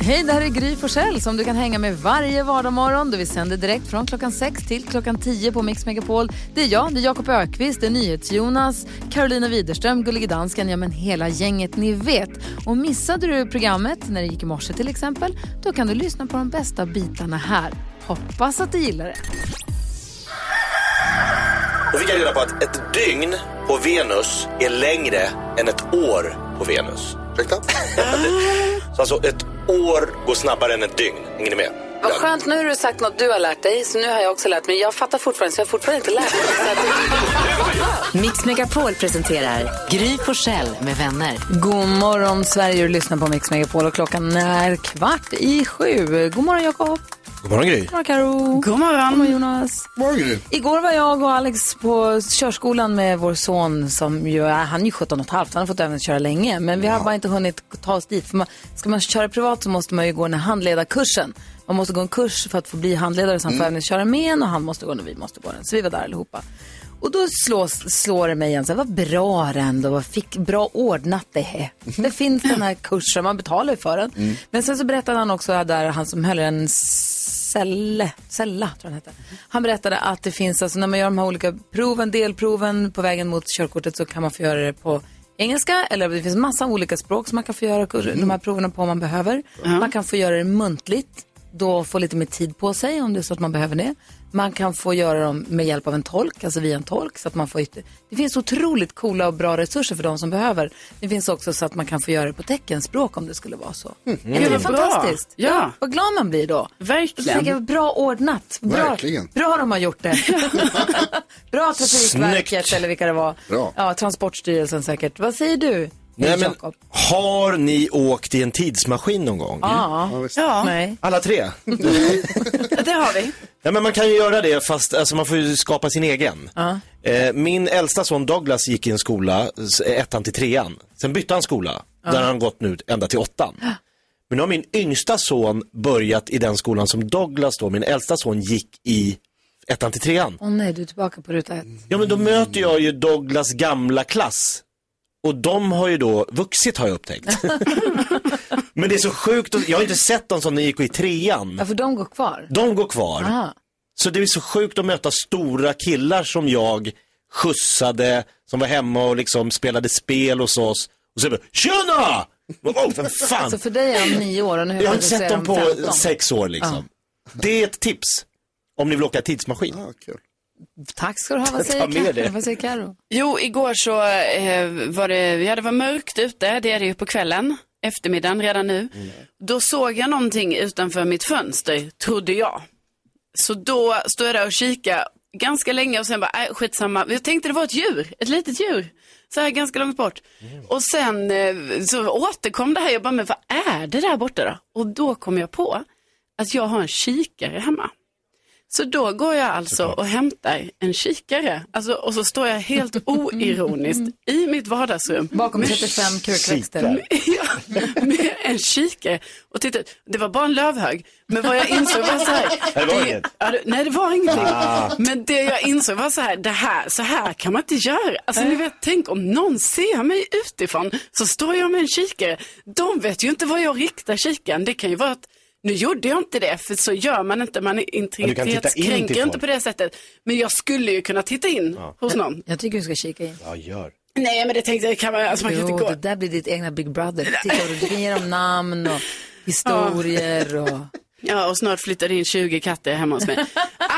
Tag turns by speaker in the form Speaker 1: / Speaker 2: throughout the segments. Speaker 1: Hej, det här är Gry Forssell som du kan hänga med varje vardagsmorgon. Vi sänder direkt från klockan 6 till klockan 10 på Mix Megapol. Det är jag, det är Jakob Ökvist, det är NyhetsJonas, Carolina Widerström, Gullige Dansken, ja men hela gänget ni vet. Och missade du programmet när det gick i morse till exempel, då kan du lyssna på de bästa bitarna här. Hoppas att du gillar det.
Speaker 2: Då fick jag reda på att ett dygn på Venus är längre än ett år på Venus.
Speaker 3: Ursäkta?
Speaker 2: Så alltså ett år går snabbare än ett dygn. Hänger ni med?
Speaker 1: Vad skönt, nu har du sagt något du har lärt dig, så nu har jag också lärt mig. Jag fattar fortfarande, så jag har fortfarande inte lärt mig.
Speaker 4: Mix Megapol presenterar Gry Forssell med vänner.
Speaker 1: God morgon Sverige, du lyssnar på Mix Megapol och klockan är kvart i sju. God morgon Jakob.
Speaker 2: God morgon Gry.
Speaker 1: God morgon Karo. God morgon. God morgon Jonas. Igår var jag och Alex på körskolan med vår son som ju är, han är ju 17 och ett halvt, han har fått övningsköra länge. Men vi har bara inte hunnit ta oss dit. För man, ska man köra privat så måste man ju gå den här handledarkursen. Man måste gå en kurs för att få bli handledare så han får övningsköra med en och han måste gå den och vi måste gå den. Så vi var där allihopa. Och då slås, slår det mig igen, så här, vad bra det ändå var, fick bra ordnat det här. Det finns den här kursen, man betalar ju för den. Men sen så berättade han också, där han som höll en Selle, Sella tror jag han hette. Han berättade att det finns, alltså när man gör de här olika proven, delproven på vägen mot körkortet så kan man få göra det på engelska eller det finns massa olika språk som man kan få göra kur- de här proven på om man behöver. Man kan få göra det muntligt, då få lite mer tid på sig om det är så att man behöver det. Man kan få göra dem med hjälp av en tolk, alltså via en tolk. Så att man får ytter... Det finns otroligt coola och bra resurser för de som behöver. Det finns också så att man kan få göra det på teckenspråk om det skulle vara så.
Speaker 2: Mm.
Speaker 1: Är inte det
Speaker 5: Gud, vad Mm. bra.
Speaker 1: fantastiskt?
Speaker 5: Ja.
Speaker 1: Vad glad man blir då. Så
Speaker 5: Verkligen.
Speaker 1: tänker jag, bra ordnat. Bra,
Speaker 3: Verkligen.
Speaker 1: bra de har gjort det. bra Trafikverket
Speaker 2: Snyggt.
Speaker 1: eller vilka det var.
Speaker 3: Bra.
Speaker 1: Ja, Transportstyrelsen säkert. Vad säger du?
Speaker 2: Nej, men,
Speaker 1: Jakob?
Speaker 2: har ni åkt i en tidsmaskin någon gång?
Speaker 1: Ja.
Speaker 5: Ja,
Speaker 1: Nej.
Speaker 2: Alla tre?
Speaker 5: det har vi.
Speaker 2: Nej, men man kan ju göra det fast alltså, man får ju skapa sin egen. Eh, min äldsta son Douglas gick i en skola, s- ettan till trean. Sen bytte han skola, där har han gått nu ända till åttan. Men nu har min yngsta son börjat i den skolan som Douglas då, min äldsta son gick i ettan till trean.
Speaker 1: Åh nej, du är tillbaka på ruta ett.
Speaker 2: Ja men då möter jag ju Douglas gamla klass. Och de har ju då vuxit har jag upptäckt. men det är så sjukt, att- jag har inte sett dem som de gick i trean.
Speaker 1: Ja, för de går kvar.
Speaker 2: De går kvar.
Speaker 1: Aha.
Speaker 2: Så det är så sjukt att möta stora killar som jag skjutsade, som var hemma och liksom spelade spel hos oss. Och så bara, tjena! Oh, vem fan?
Speaker 1: Så Alltså, för dig är de nio år och nu
Speaker 2: jag har inte sett dem på
Speaker 1: femton.
Speaker 2: sex år liksom. Det är ett tips. Om ni vill åka tidsmaskin.
Speaker 3: Ja, Ah, kul.
Speaker 1: Tack ska du ha. Vad
Speaker 2: Ta med
Speaker 1: säger
Speaker 2: det.
Speaker 1: Karo? Vad säger Karo?
Speaker 5: Jo, igår så eh, var det, ja, det var mörkt ute, det är det ju på kvällen, eftermiddagen redan nu. Då såg jag någonting utanför mitt fönster, trodde jag. Så då stod jag där och kikade ganska länge och sen bara, nej skitsamma. Jag tänkte det var ett djur, ett litet djur. Så här ganska långt bort. Och sen eh, så återkom det här, jag bara, men vad är det där borta då? Och då kom jag på att jag har en kikare hemma. Så då går jag alltså och hämtar en kikare. Alltså, och så står jag helt oironiskt i mitt vardagsrum
Speaker 1: Bakom 35 krukväxter.
Speaker 2: Kikar.
Speaker 5: Ja, med en kikare och titta, det var bara en lövhög. Men vad jag insåg var så här.
Speaker 2: Det var inget. Ah.
Speaker 5: Ja, det- nej, det var ingenting. Men det jag insåg var så här, det här, så här kan man inte göra. Alltså ni vet, tänk om någon ser mig utifrån så står jag med en kikare. De vet ju inte var jag riktar kikaren. Det kan ju vara att nu gjorde jag inte det, för så gör man inte. Man är
Speaker 2: du kan titta in till
Speaker 5: integritetskränker inte
Speaker 2: folk.
Speaker 5: på det sättet. Men jag skulle ju kunna titta in hos någon.
Speaker 1: Jag tycker du ska kika in.
Speaker 2: Ja, gör.
Speaker 5: Nej, men det tänkte jag, kan man, alltså, man kan
Speaker 1: Jo,
Speaker 5: inte gå.
Speaker 1: det där blir ditt egna Big Brother. Titta, du kan ge dem namn och historier och...
Speaker 5: Ja, och snart flyttar det in 20 katter hemma hos mig.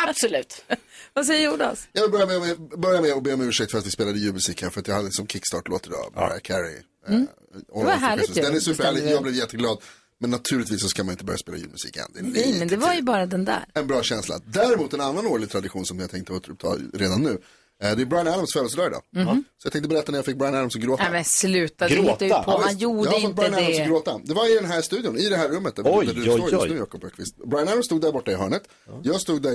Speaker 5: Absolut.
Speaker 1: Vad säger Jonas?
Speaker 3: Jag vill börja med, med, börja med att be om ursäkt för att vi spelade julmusik här för att jag hade som kickstart-låt idag, Mariah Carey. Mm. Det
Speaker 1: var härligt ju,
Speaker 3: Den är superhärlig,
Speaker 1: bestämde vi.
Speaker 3: jag blev jätteglad. Men naturligtvis så ska man inte börja spela julmusik än. Det är
Speaker 1: Nej,
Speaker 3: lite
Speaker 1: men det var ju bara den där.
Speaker 3: en bra känsla. Däremot en annan årlig tradition som jag tänkte återuppta redan nu. Eh, Det är Brian Adams födelsedag idag. Så jag tänkte berätta när jag fick Brian Adams att gråta.
Speaker 1: Mhm. Nej men sluta, du
Speaker 2: Gråta.
Speaker 1: hittar ju på.
Speaker 2: Ja,
Speaker 1: Man
Speaker 3: visst.
Speaker 1: gjorde
Speaker 3: jag har fått
Speaker 1: inte
Speaker 3: Brian Adams att
Speaker 1: det.
Speaker 3: gråta. Det var i den här studion, i det här rummet där, vi-
Speaker 2: Oj,
Speaker 3: där du
Speaker 2: oj,
Speaker 3: står just
Speaker 2: oj.
Speaker 3: nu Jakob Öqvist. Brian Adams stod där borta i hörnet. Jag stod där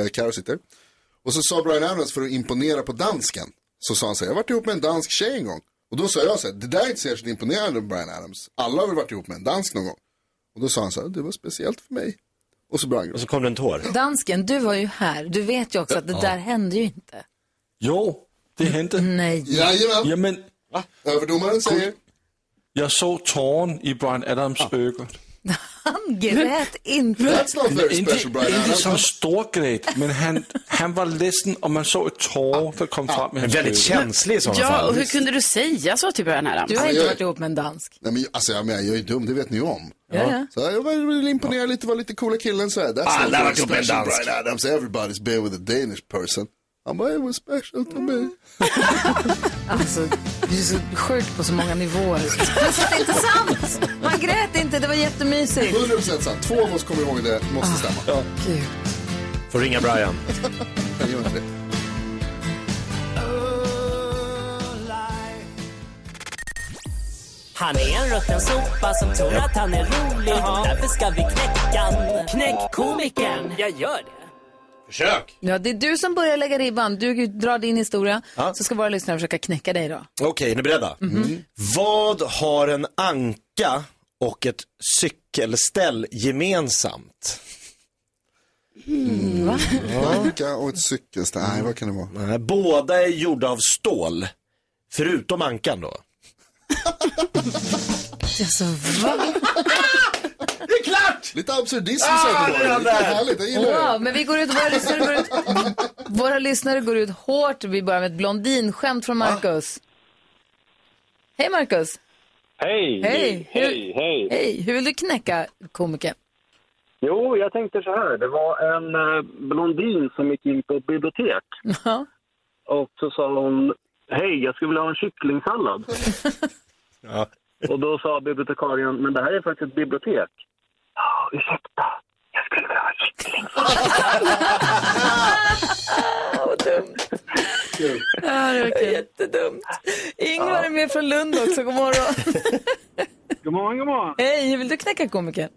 Speaker 3: äh, Karo sitter. Och så sa Brian Adams för att imponera på dansken. Så sa han så här, jag har varit ihop med en dansk tjej en gång. Och då sa jag så här, det där är inte särskilt imponerande Brian Adams. Alla har väl varit ihop med en dansk någon gång. Och då sa han så här, det var speciellt för mig. Och så började han
Speaker 2: Och
Speaker 3: gråta.
Speaker 2: så kom det en tår.
Speaker 1: Dansken, du var ju här. Du vet ju också att det där hände ju inte.
Speaker 6: Jo, det hände.
Speaker 1: Nej.
Speaker 3: Jajamän,
Speaker 6: Jamen,
Speaker 3: överdomaren säger.
Speaker 6: jag såg tåren i Brian Adams ögon.
Speaker 1: Han grät inte.
Speaker 3: That's not very
Speaker 6: Inte,
Speaker 3: special Brian
Speaker 6: inte som
Speaker 3: Adams.
Speaker 6: storgrät, men han, han var ledsen och man såg ett tår som kom fram i
Speaker 2: En
Speaker 6: hans
Speaker 2: väldigt
Speaker 6: ögon.
Speaker 2: känslig i sådana
Speaker 5: Ja, och
Speaker 2: fall.
Speaker 5: hur kunde du säga så till Brian Adams?
Speaker 1: Du har
Speaker 3: Ja,
Speaker 1: inte
Speaker 3: jag-
Speaker 1: varit ihop med en dansk.
Speaker 3: Nej, men, alltså, jag, menar, jag är dum, det vet ni ju om.
Speaker 1: Ja, ja.
Speaker 3: Så jag vill imponera lite, vara lite coola killen så här. That's
Speaker 2: Alla
Speaker 3: not
Speaker 2: har
Speaker 3: very
Speaker 2: varit ihop med typ en
Speaker 3: special,
Speaker 2: dansk.
Speaker 3: Brian Adams, everybody's been with a Danish person. Han bara, it was special to me.
Speaker 1: Alltså, du är så sjuk på så många nivåer. Men så att det är inte sant! Man grät inte, det var jättemysigt.
Speaker 3: 100% sant, två av oss kommer ihåg det,
Speaker 1: Ah.
Speaker 3: måste stämma.
Speaker 1: Gud.
Speaker 2: Får ringa Brian.
Speaker 3: Jag gör inte det.
Speaker 7: Han är en rutten sopa som tror att han är rolig. Därför ska vi knäcka han. Knäck komikern. Jag gör det.
Speaker 2: Försök!
Speaker 1: Ja, det är du som börjar lägga ribban. Du drar din historia, så ska våra lyssnare försöka knäcka dig då.
Speaker 2: Okej, är ni beredda?
Speaker 1: Mhm.
Speaker 3: Mm.
Speaker 2: Vad har en anka och ett cykelställ gemensamt?
Speaker 3: Anka och ett cykelställ. Nej, vad kan det vara?
Speaker 2: Nej, Båda är gjorda av stål, förutom ankan då.
Speaker 1: Alltså, va?
Speaker 2: Det är klart!
Speaker 3: Lite absurdism
Speaker 2: Ah,
Speaker 3: söker
Speaker 2: det är
Speaker 3: på.
Speaker 2: han
Speaker 3: Lite
Speaker 2: där.
Speaker 3: härligt, jag gillar det.
Speaker 1: Wow, men vi går ut, våra lyssnare går ut, våra lyssnare går ut hårt. Vi börjar med ett blondinskämt från
Speaker 3: Ah.
Speaker 1: Marcus. Hej Marcus!
Speaker 8: Hej!
Speaker 1: Hej.
Speaker 8: Hej! Hej!
Speaker 1: Hej, hur vill du knäcka komikern?
Speaker 8: Jo, jag tänkte så här. Det var en eh, blondin som gick in på ett bibliotek.
Speaker 1: Ja.
Speaker 8: Och så sa hon, hej, jag skulle vilja ha en kycklingsallad.
Speaker 2: Ja.
Speaker 8: Och då sa bibliotekarien, men det här är faktiskt ett bibliotek. Ja, ursäkta. Jag skulle vilja ha en kyckling.
Speaker 1: Ja, det var jättedumt. Ingvar är med från Lund också, god morgon.
Speaker 8: God morgon, god morgon.
Speaker 1: Hej, hur vill du knäcka komikern?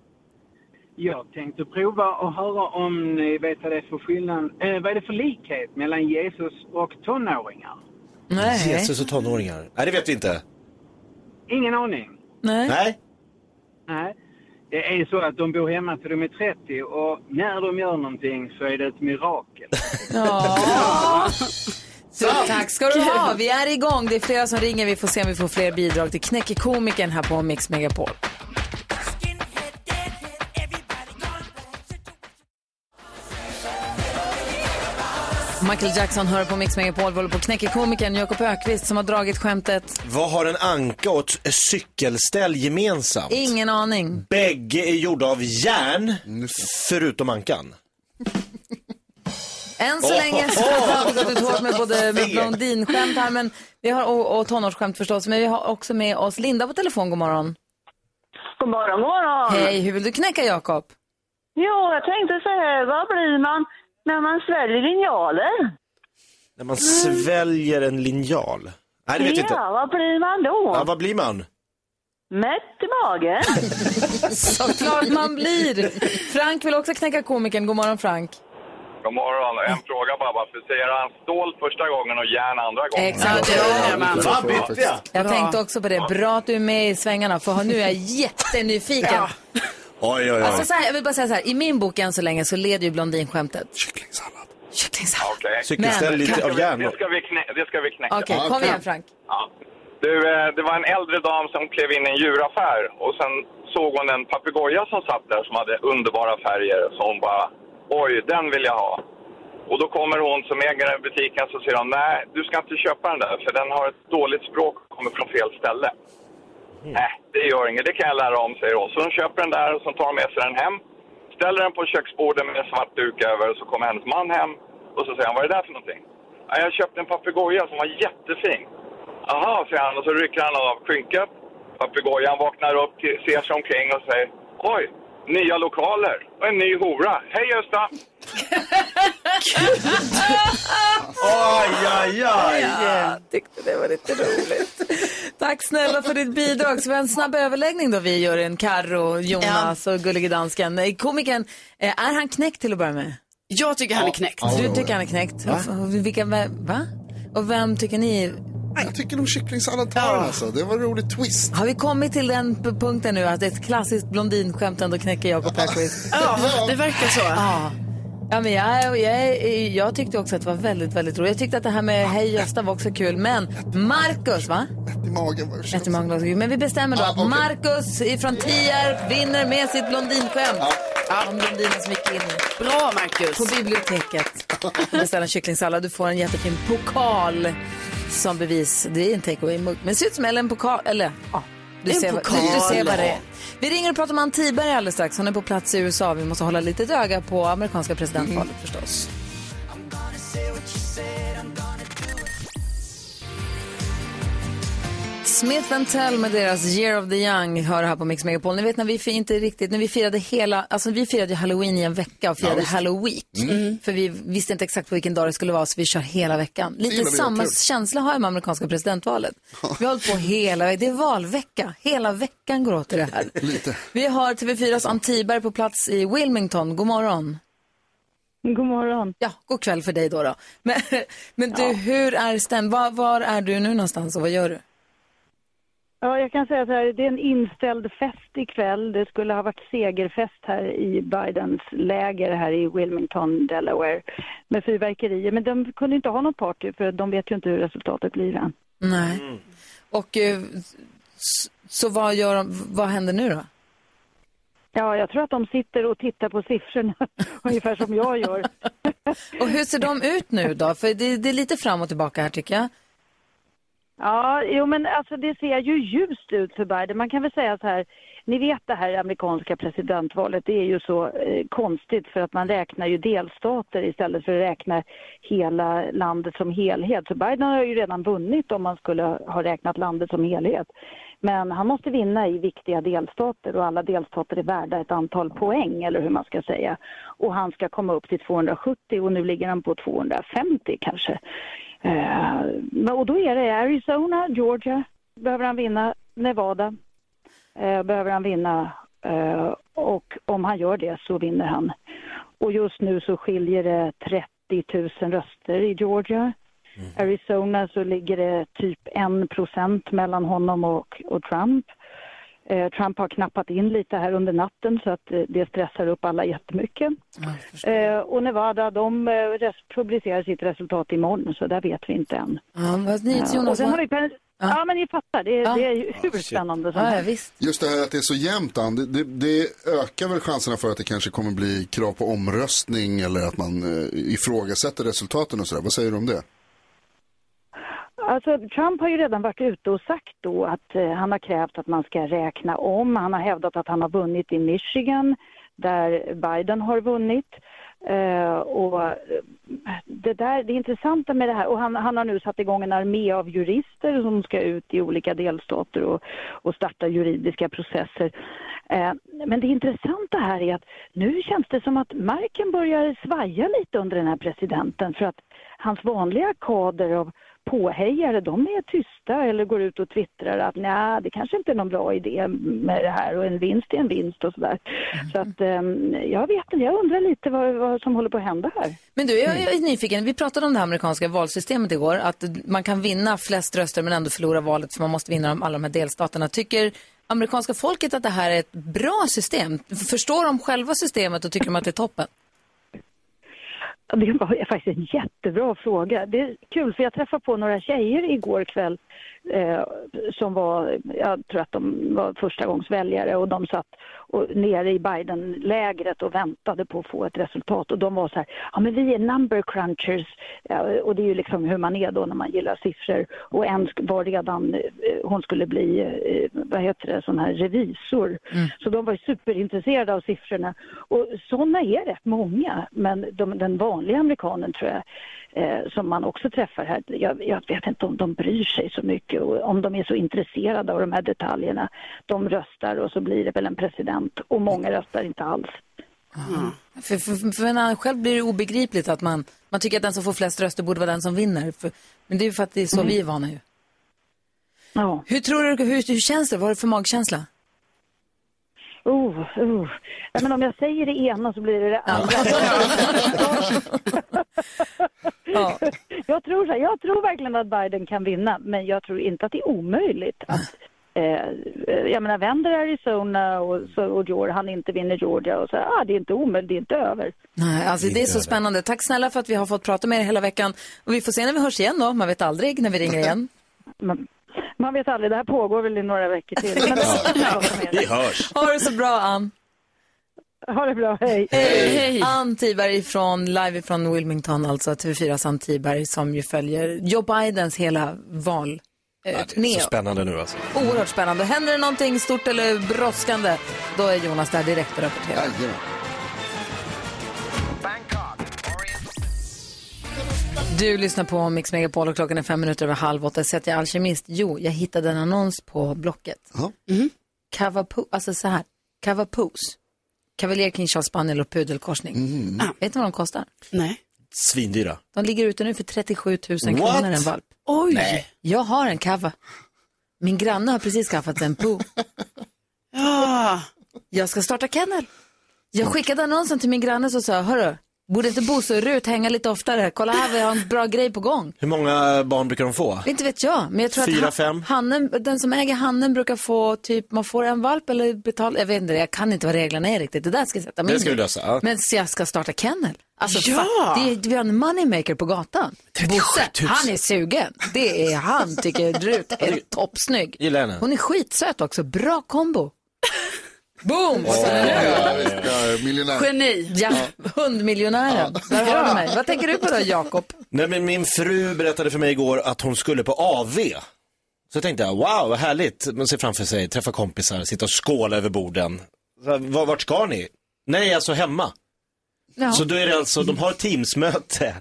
Speaker 8: Jag tänkte prova och höra om ni vet vad det är för skillnad, eh, vad är det för likhet mellan Jesus och tonåringar?
Speaker 1: Nej.
Speaker 2: Jesus och tonåringar. Nej, det vet vi inte.
Speaker 8: Ingen aning.
Speaker 1: Nej.
Speaker 2: Nej.
Speaker 8: Nej. Det är så att de bor hemma till de är 30 och när de gör någonting så är det ett mirakel.
Speaker 1: Ja. Så, tack ska du ha. Vi är igång. Det är flera som ringer. Vi får se om vi får fler bidrag till Knäcke komikern här på Mix Megapol. Michael Jackson hör på Mix Megapol. Vi håller på att knäcka komikern Jakob Ökvist som har dragit skämtet.
Speaker 2: Vad har en anka och ett cykelställ gemensamt?
Speaker 1: Ingen aning.
Speaker 2: Bägge är gjorda av järn, förutom ankan.
Speaker 1: Än så länge så har vi gått ut hårt med både med blondinskämt här men vi har, och, och tonårsskämt förstås. Men vi har också med oss Linda på telefon. God morgon.
Speaker 9: God morgon, god morgon.
Speaker 1: Hej, hur vill du knäcka Jakob?
Speaker 9: Jo, jag tänkte så här, vad blir man när man sväljer linjaler?
Speaker 2: När man sväljer en linjal. Nej, det vet vi inte.
Speaker 9: Ja, vad blir man
Speaker 2: Ja,
Speaker 9: då?
Speaker 2: vad blir man?
Speaker 9: Mätt i magen?
Speaker 1: Såklart man blir. Frank vill också knäcka komikern. God morgon Frank.
Speaker 10: God morgon. En
Speaker 2: Mm.
Speaker 10: fråga bara. Varför säger han stål första gången och järn andra gången?
Speaker 1: Exakt.
Speaker 5: Ja, man.
Speaker 3: Det
Speaker 2: Va,
Speaker 3: får
Speaker 2: bytte
Speaker 3: faktiskt.
Speaker 2: jag?
Speaker 1: Jag tänkte också på det. Bra att du är med i svängarna för nu är jag jättenyfiken.
Speaker 2: Oj, oj,
Speaker 1: Alltså
Speaker 2: oj.
Speaker 1: så här, jag vill bara säga så här, i min bok än så länge så leder ju blondinskämtet.
Speaker 3: Kycklingsallad.
Speaker 1: Kycklingsallad.
Speaker 10: Okej.
Speaker 2: Cykelställ
Speaker 1: Men-
Speaker 2: lite av järn.
Speaker 10: Det
Speaker 2: då.
Speaker 10: ska vi, knä, det ska vi knäcka.
Speaker 1: Okej,
Speaker 3: Ja,
Speaker 1: kom
Speaker 3: okej.
Speaker 1: igen Frank.
Speaker 10: Ja. Du, eh, det var en äldre dam som klev in i en djuraffär och sen såg hon en papegoja som satt där som hade underbara färger. Så hon bara, oj, den vill jag ha. Och då kommer hon som äger den butiken så säger hon, nej, du ska inte köpa den där för den har ett dåligt språk och kommer från fel ställe. Nej, det gör inget, det kan jag lära om, säger hon. Så hon köper den där och så tar hon med sig den hem, ställer den på köksbordet med en svart duk över och så kommer hennes man hem och så säger han, vad är det där för någonting? Ja, jag köpte en papegoja som var jättefin. Aha, säger han och så rycker han av skynket. Papegojan vaknar upp, till- ser sig omkring och säger, oj, nya lokaler och en ny hora. Hej Gösta!
Speaker 2: Aj, aj, aj.
Speaker 1: Ja, tyckte det var lite roligt. Tack snälla för ditt bidrag. Så vi har en snabb överläggning då vi gör en Karro, Jonas och gullige dansken. Eh, Komikern, eh, är han knäckt till att börja med?
Speaker 5: Jag tycker han är knäckt.
Speaker 1: Du tycker han är knäckt. Och Vilka, va? Och vem tycker ni?
Speaker 3: Jag tycker nog kycklingsallad tar den alltså. Det var en rolig twist.
Speaker 1: Har vi kommit till den p- punkten nu att ett klassiskt blondinskämt ändå knäcker Jakob Öqvist?
Speaker 5: Ja, det verkar så.
Speaker 1: Ja. Ja, men jag, jag, jag tyckte också att det var väldigt, väldigt roligt. Jag tyckte att det här med Hej Gösta var också kul. Men Marcus, va?
Speaker 3: Ett i magen var
Speaker 1: Ett i magen var också kul. Men vi bestämmer då att Marcus ifrån Tierp vinner med sitt blondinskämt. Om blondinen som gick in
Speaker 5: Bra Marcus!
Speaker 1: på biblioteket och beställer en kycklingsallad. Du får en jättefin pokal som bevis. Det är en takeaway-mugg, men det ser ut som eller en pokal. Eller, ja. Du
Speaker 5: En
Speaker 1: ser, vad,
Speaker 5: pokal.
Speaker 1: du ser vad det är. Vi ringer och pratar med Ann Tiberg alldeles strax. Hon är på plats i USA. Vi måste hålla lite öga på amerikanska
Speaker 2: Mm.
Speaker 1: presidentvalet förstås. Smith Tell med deras Year of the Young hör här på Mix Megapol. Ni vet när vi fi- inte riktigt, när vi firade hela, alltså vi firade ju Halloween i en vecka och firade
Speaker 11: visst.
Speaker 1: Halloween.
Speaker 11: Mm.
Speaker 1: För vi visste inte exakt på vilken dag det skulle vara så vi kör hela veckan.
Speaker 11: Så himla
Speaker 1: Lite
Speaker 11: bra
Speaker 1: samma
Speaker 11: kul.
Speaker 1: känsla har jag med amerikanska presidentvalet. Vi har hållit på hela veckan, det är valvecka, hela veckan går åt till det här.
Speaker 3: Lite.
Speaker 1: Vi har TV4s Ann Tiberg på plats i Wilmington, god morgon.
Speaker 9: God morgon.
Speaker 1: Ja, god kväll för dig då. då. Men, men du, hur är stäm... Var, var är du nu någonstans och vad gör du?
Speaker 9: Ja, jag kan säga så här, det är en inställd fest ikväll. Det skulle ha varit segerfest här i Bidens läger här i Wilmington, Delaware, med fyrverkerier. Men de kunde inte ha något party för de vet ju inte hur resultatet blir än.
Speaker 1: Nej. Och eh, s- så vad, gör de, vad händer nu då?
Speaker 9: Ja, jag tror att de sitter och tittar på siffrorna, ungefär som jag gör.
Speaker 1: Och hur ser de ut nu då? För det, det är lite fram och tillbaka här tycker jag.
Speaker 9: Ja, jo men alltså det ser ju ljust ut för Biden. Man kan väl säga så här, ni vet det här amerikanska presidentvalet, det är ju så eh, konstigt för att man räknar ju delstater istället för att räkna hela landet som helhet. Så Biden har ju redan vunnit om man skulle ha räknat landet som helhet. Men han måste vinna i viktiga delstater och alla delstater är värda ett antal poäng eller hur man ska säga. Och han ska komma upp till 270 och nu ligger han på 250 kanske. Eh, men- och då är det Arizona, Georgia, behöver han vinna, Nevada, eh, behöver han vinna eh, och om han gör det så vinner han. Och just nu så skiljer det 30 000 röster i Georgia. Arizona så ligger det typ 1 procent mellan honom och, och Trump. Eh, Trump har knappat in lite här under natten så att eh, det stressar upp alla jättemycket. Eh, och Nevada, de eh, res- publicerar sitt resultat imorgon så där vet vi inte än.
Speaker 1: Ja, vad ni,
Speaker 9: Ja, och
Speaker 1: Jonas,
Speaker 9: sen har
Speaker 1: vad...
Speaker 9: vi pen... ja. men ni fattar, det,
Speaker 1: Ja.
Speaker 9: det är ju hur spännande som
Speaker 1: Ah. Ja, ja,
Speaker 9: helst.
Speaker 1: visst.
Speaker 3: Just det här att det är så jämnt, Ann, det, det, det ökar väl chanserna för att det kanske kommer bli krav på omröstning eller att man eh, ifrågasätter resultaten och sådär. Vad säger du om det?
Speaker 9: Alltså, Trump har ju redan varit ute och sagt då att eh, han har krävt att man ska räkna om. Han har hävdat att han har vunnit i Michigan där Biden har vunnit. Eh, och eh, det, där, det intressanta med det här, och han, han har nu satt igång en armé av jurister som ska ut i olika delstater och, och starta juridiska processer. Eh, men det intressanta här är att nu känns det som att marken börjar svaja lite under den här presidenten för att hans vanliga kader av påhejare, de är tysta eller går ut och twittrar att nej, det kanske inte är någon bra idé med det här och en vinst är en vinst och sådär. Så att ehm, jag vet inte, jag undrar lite vad, vad som håller på att hända här.
Speaker 1: Men du, jag
Speaker 9: Mm.
Speaker 1: är nyfiken. Vi pratade om det här amerikanska valsystemet igår, att man kan vinna flest röster men ändå förlora valet för man måste vinna de- alla de här delstaterna. Tycker amerikanska folket att det här är ett bra system? Förstår de själva systemet och tycker de att det är toppen?
Speaker 9: Ja, Det var faktiskt en jättebra fråga. Det är kul för jag träffade på några tjejer igår kväll eh, som var, jag tror att de var första gångs väljare och de satt och, nere i Biden-lägret och väntade på att få ett resultat och de var så här, ja men vi är number crunchers ja, och det är ju liksom hur man är då när man gillar siffror och en sk- var redan, eh, hon skulle bli, eh, vad heter det, sån här revisor. Så de var ju superintresserade av siffrorna. Och sådana är rätt många, men de, den vanliga amerikanen tror jag, eh, som man också träffar här, jag, jag vet inte om de bryr sig så mycket och om de är så intresserade av de här detaljerna. De röstar och så blir det väl en president och många röstar inte alls.
Speaker 1: För, för, för när han själv blir det obegripligt att man, man tycker att den som får flest röster borde vara den som vinner. För, men det är ju för att det är så vi är vana ju.
Speaker 9: Mm. Ja.
Speaker 1: Hur tror du, hur, hur känns det? Vad är det för magkänsla?
Speaker 9: Oh, oh. Ja, men om jag säger det ena så blir det det andra. jag, tror så här, jag tror verkligen att Biden kan vinna, men jag tror inte att det är omöjligt att eh, jag menar vänder Arizona och, så, och Georgia, han inte vinner Georgia och så, ah, det är inte omöjligt, det är inte över.
Speaker 1: Nej, alltså det är så spännande. Tack snälla för att vi har fått prata med er hela veckan. Och vi får se när vi hörs igen då. Man vet aldrig när vi ringer igen.
Speaker 9: Man, man vet aldrig, det här pågår väl i några veckor till. Men
Speaker 2: Vi hörs.
Speaker 1: Ha det så bra, Ann.
Speaker 9: Ha det bra, hej.
Speaker 1: Hej. Ann Tiberg från, live från Wilmington, alltså TV4s Ann Tiberg som ju följer Joe Bidens hela val. eh,
Speaker 2: Ja, det är
Speaker 1: turné.
Speaker 2: så spännande nu alltså.
Speaker 1: Oerhört spännande. Händer det någonting stort eller brådskande, då är Jonas där direkt och rapporterar. Du lyssnar på Mix Megapol och klockan är fem minuter över halv åtta. Sätter jag alkemist? Jo, jag hittade en annons på Blocket. Mm. Cavapo, alltså så här, Cavapos. Kavaljer, King Charles Spaniel och pudelkorsning.
Speaker 2: Mm.
Speaker 1: Ah, vet ni vad de kostar?
Speaker 5: Nej.
Speaker 2: Svindyra.
Speaker 1: De ligger ute nu för 37 000
Speaker 2: What?
Speaker 1: kronor en valp.
Speaker 5: Oj!
Speaker 2: Nej.
Speaker 1: Jag har en kava. Min granne har precis skaffat en po.
Speaker 5: ja.
Speaker 1: Jag ska starta kennel. Jag skickade annonsen till min granne och sa, jag, hörru, borde inte Bosse och Rut hänga lite oftare? Kolla här, vi har en bra grej på gång.
Speaker 2: Hur många barn brukar de få?
Speaker 1: Inte vet jag, men jag tror
Speaker 2: Fyra,
Speaker 1: att
Speaker 2: fem?
Speaker 1: han, hannen, den som äger hannen brukar få typ, man får en valp eller betala, jag vet inte, jag kan inte vad reglerna är riktigt. Det där ska jag sätta mig
Speaker 2: Det ska
Speaker 1: in i.
Speaker 2: du lösa, ja.
Speaker 1: Men så jag ska starta kennel. Alltså,
Speaker 5: Ja!
Speaker 1: fa- det är, vi har en moneymaker på gatan. Bosse, han är sugen. Det är han, tycker Rut, är toppsnygg.
Speaker 2: Gillar henne.
Speaker 1: Hon är skitsöt också, bra kombo. Boom!
Speaker 3: Ja,
Speaker 1: Så är det.
Speaker 3: ja, visst, ja, miljonär.
Speaker 5: Geni.
Speaker 1: Ja, hundmiljonären. Där har du mig. Vad tänker du på då, Jakob?
Speaker 2: Nej, men min fru berättade för mig igår att hon skulle på AV. Så tänkte jag, wow, vad härligt. Man ser framför sig, träffa kompisar, sitta och skåla över borden. Så här, "Var- Vart ska ni? Nej, alltså hemma.
Speaker 1: Ja.
Speaker 2: Så då är det alltså, de har ett teamsmöte.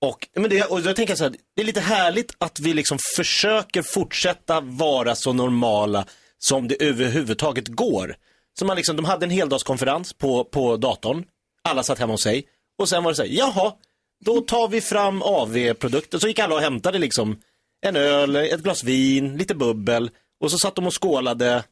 Speaker 2: Och, men det, och då tänker jag så här, det är lite härligt att vi liksom försöker fortsätta vara så normala som det överhuvudtaget går. Så man liksom, de hade en heldagskonferens på, på datorn, alla satt hemma hos sig. Och sen var det så här, jaha, då tar vi fram AV-produkter. Så gick alla och hämtade liksom en öl, ett glas vin, lite bubbel. Och så satt de och skålade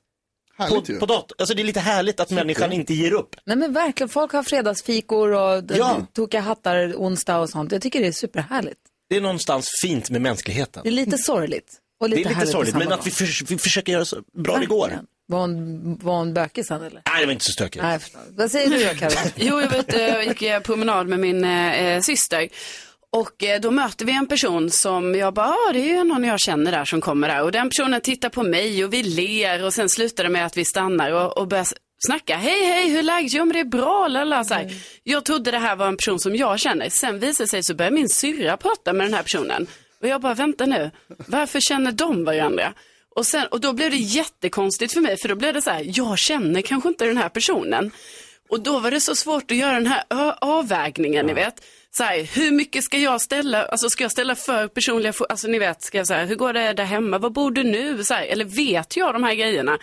Speaker 2: på,
Speaker 3: Härligt ju.
Speaker 2: på datorn. Alltså det är lite härligt att människan inte ger upp.
Speaker 1: Nej men verkligen, folk har fredagsfikor och
Speaker 2: Ja.
Speaker 1: ja. tokiga hattar onsdag och sånt. Jag tycker det är superhärligt.
Speaker 2: Det är någonstans fint med mänskligheten.
Speaker 1: Det är lite sorgligt. Och lite
Speaker 2: det är lite
Speaker 1: härligt på
Speaker 2: sorgligt,
Speaker 1: samma
Speaker 2: men att vi,
Speaker 1: gång.
Speaker 2: förs- vi försöker göra så bra det går.
Speaker 1: Verkligen. Var hon, var hon bökig sen eller?
Speaker 2: Nej, det var inte så stökigt.
Speaker 1: Nej, jag förstår. Vad säger du då Carro?
Speaker 5: Jo, jag vet, eh, jag gick eh, promenad med min eh, eh, syster. Och eh, då möter vi en person som jag bara, ah, det är ju någon jag känner där som kommer där. Och den personen tittar på mig och vi ler och sen slutar det med att vi stannar och, och börjar s- snacka. Hej, hej, hur är läget? Jo, men det är bra, lala. Så
Speaker 1: Mm.
Speaker 5: här. Jag trodde det här var en person som jag känner. Sen visar det sig så börjar min syrra prata med den här personen. Och jag bara, vänta nu, varför känner de varandra? Och, sen, och då blev det jättekonstigt för mig, för då blev det så här, jag känner kanske inte den här personen. Och då var det så svårt att göra den här ö- avvägningen, ni vet. Så här, hur mycket ska jag ställa, alltså ska jag ställa för personliga, fo- alltså ni vet, ska jag så här, hur går det där hemma, var bor du nu, så här, eller vet jag de här grejerna?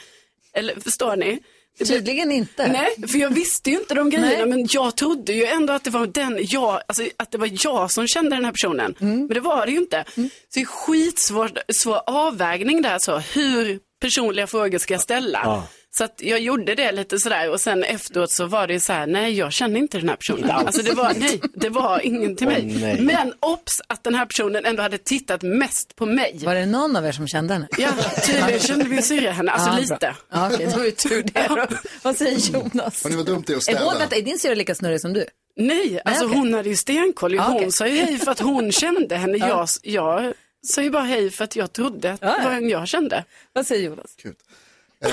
Speaker 5: Eller förstår ni? Det blir-
Speaker 1: Tydligen inte.
Speaker 5: Nej, för jag visste ju inte de grejerna, men jag trodde ju ändå att det var den jag, alltså att det var jag som kände den här personen.
Speaker 1: Mm.
Speaker 5: Men det var det ju inte. Så det är skitsvår svår avvägning där, så hur personliga frågor ska jag ställa.
Speaker 2: Ja.
Speaker 5: Så att jag gjorde det lite sådär och sen efteråt så var det ju så här, nej jag känner inte den här personen. Alltså det var, nej, det var ingen till mig.
Speaker 2: Åh, nej.
Speaker 5: Men obs att den här personen ändå hade tittat mest på mig.
Speaker 1: Var det någon av er som kände henne?
Speaker 5: Ja, tydligen kände min syrra henne, alltså
Speaker 1: Ja, bra.
Speaker 5: lite.
Speaker 1: Ja, okej, det var ju tur det. då. Vad säger Jonas?
Speaker 3: Hörni, vad dumt det är att
Speaker 1: Är, hon,
Speaker 3: städa.
Speaker 1: vänta, är din syrra lika snurrig som du?
Speaker 5: Nej, alltså
Speaker 1: okej.
Speaker 5: hon hade ju stenkoll. ju.
Speaker 1: Ja,
Speaker 5: hon
Speaker 1: okej.
Speaker 5: sa ju hej för att hon kände henne. Jag, jag sa ju bara hej för att jag trodde att
Speaker 1: Ja,
Speaker 5: det
Speaker 1: ja.
Speaker 5: var en jag kände.
Speaker 1: Vad säger Jonas?
Speaker 3: Eh,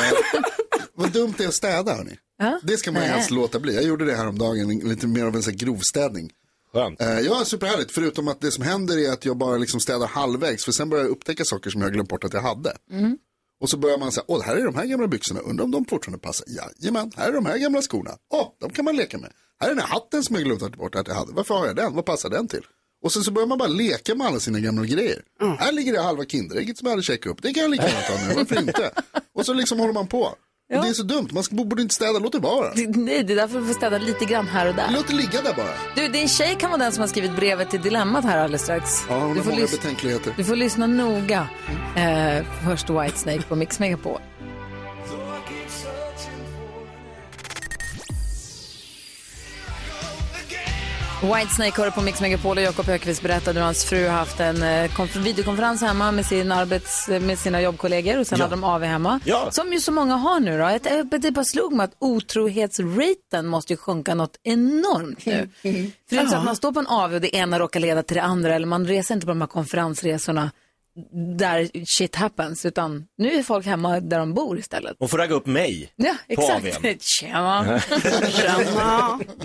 Speaker 3: vad dumt det är att städa hörni.
Speaker 1: Ja?
Speaker 3: Det ska man ju
Speaker 1: Nej.
Speaker 3: helst låta bli. Jag gjorde det häromdagen, en- lite mer av en sån här grovstädning.
Speaker 2: Skönt.
Speaker 3: Eh, ja, superhärligt. Förutom att det som händer är att jag bara liksom städar halvvägs. För sen börjar jag upptäcka saker som jag glömt bort att jag hade.
Speaker 1: Mm.
Speaker 3: Och så börjar man säga, åh, här är de här gamla byxorna, undrar om de fortfarande passar. Jajamän, här är de här gamla skorna, åh, de kan man leka med. Här är den här hatten som jag glömt att ta bort att jag hade, varför har jag den, vad passar den till? Och sen så börjar man bara leka med alla sina gamla grejer.
Speaker 1: Mm.
Speaker 3: Här ligger det halva Kinderägget som jag hade checkat upp, det kan jag lika gärna ta nu, varför inte? Och så liksom håller man på. Och det är så dumt, man ska- borde inte städa, låt det vara.
Speaker 1: Nej, det är därför du får städa lite grann här och där.
Speaker 3: Låt det ligga där bara.
Speaker 1: Du, din tjej kan vara den som har skrivit brevet till Dilemmat här alldeles strax.
Speaker 3: Ja, hon
Speaker 1: du
Speaker 3: har
Speaker 1: får
Speaker 3: många
Speaker 1: lyssna.
Speaker 3: betänkligheter.
Speaker 1: Du får lyssna noga. Eh, först Whitesnake på Mix Megapol. Whitesnake hör på Mix Megapol och Jakob Högqvist berättade hur hans fru haft en eh, konf- videokonferens hemma med, sin arbets, med sina jobbkollegor och sen
Speaker 11: Ja.
Speaker 1: hade de AV hemma.
Speaker 11: Ja.
Speaker 1: Som ju så många har nu då. Ett- eh, Det bara slog mig att otrohetsraten måste ju sjunka något enormt nu. För det är inte så
Speaker 11: Ja.
Speaker 1: att man står på en AV och det ena råkar leda till det andra eller man reser inte på de här konferensresorna där shit happens utan nu är folk hemma där de bor istället.
Speaker 2: Hon får ragga upp mig.
Speaker 1: Ja,
Speaker 2: På
Speaker 1: exakt.
Speaker 2: AWn.
Speaker 1: Tjena.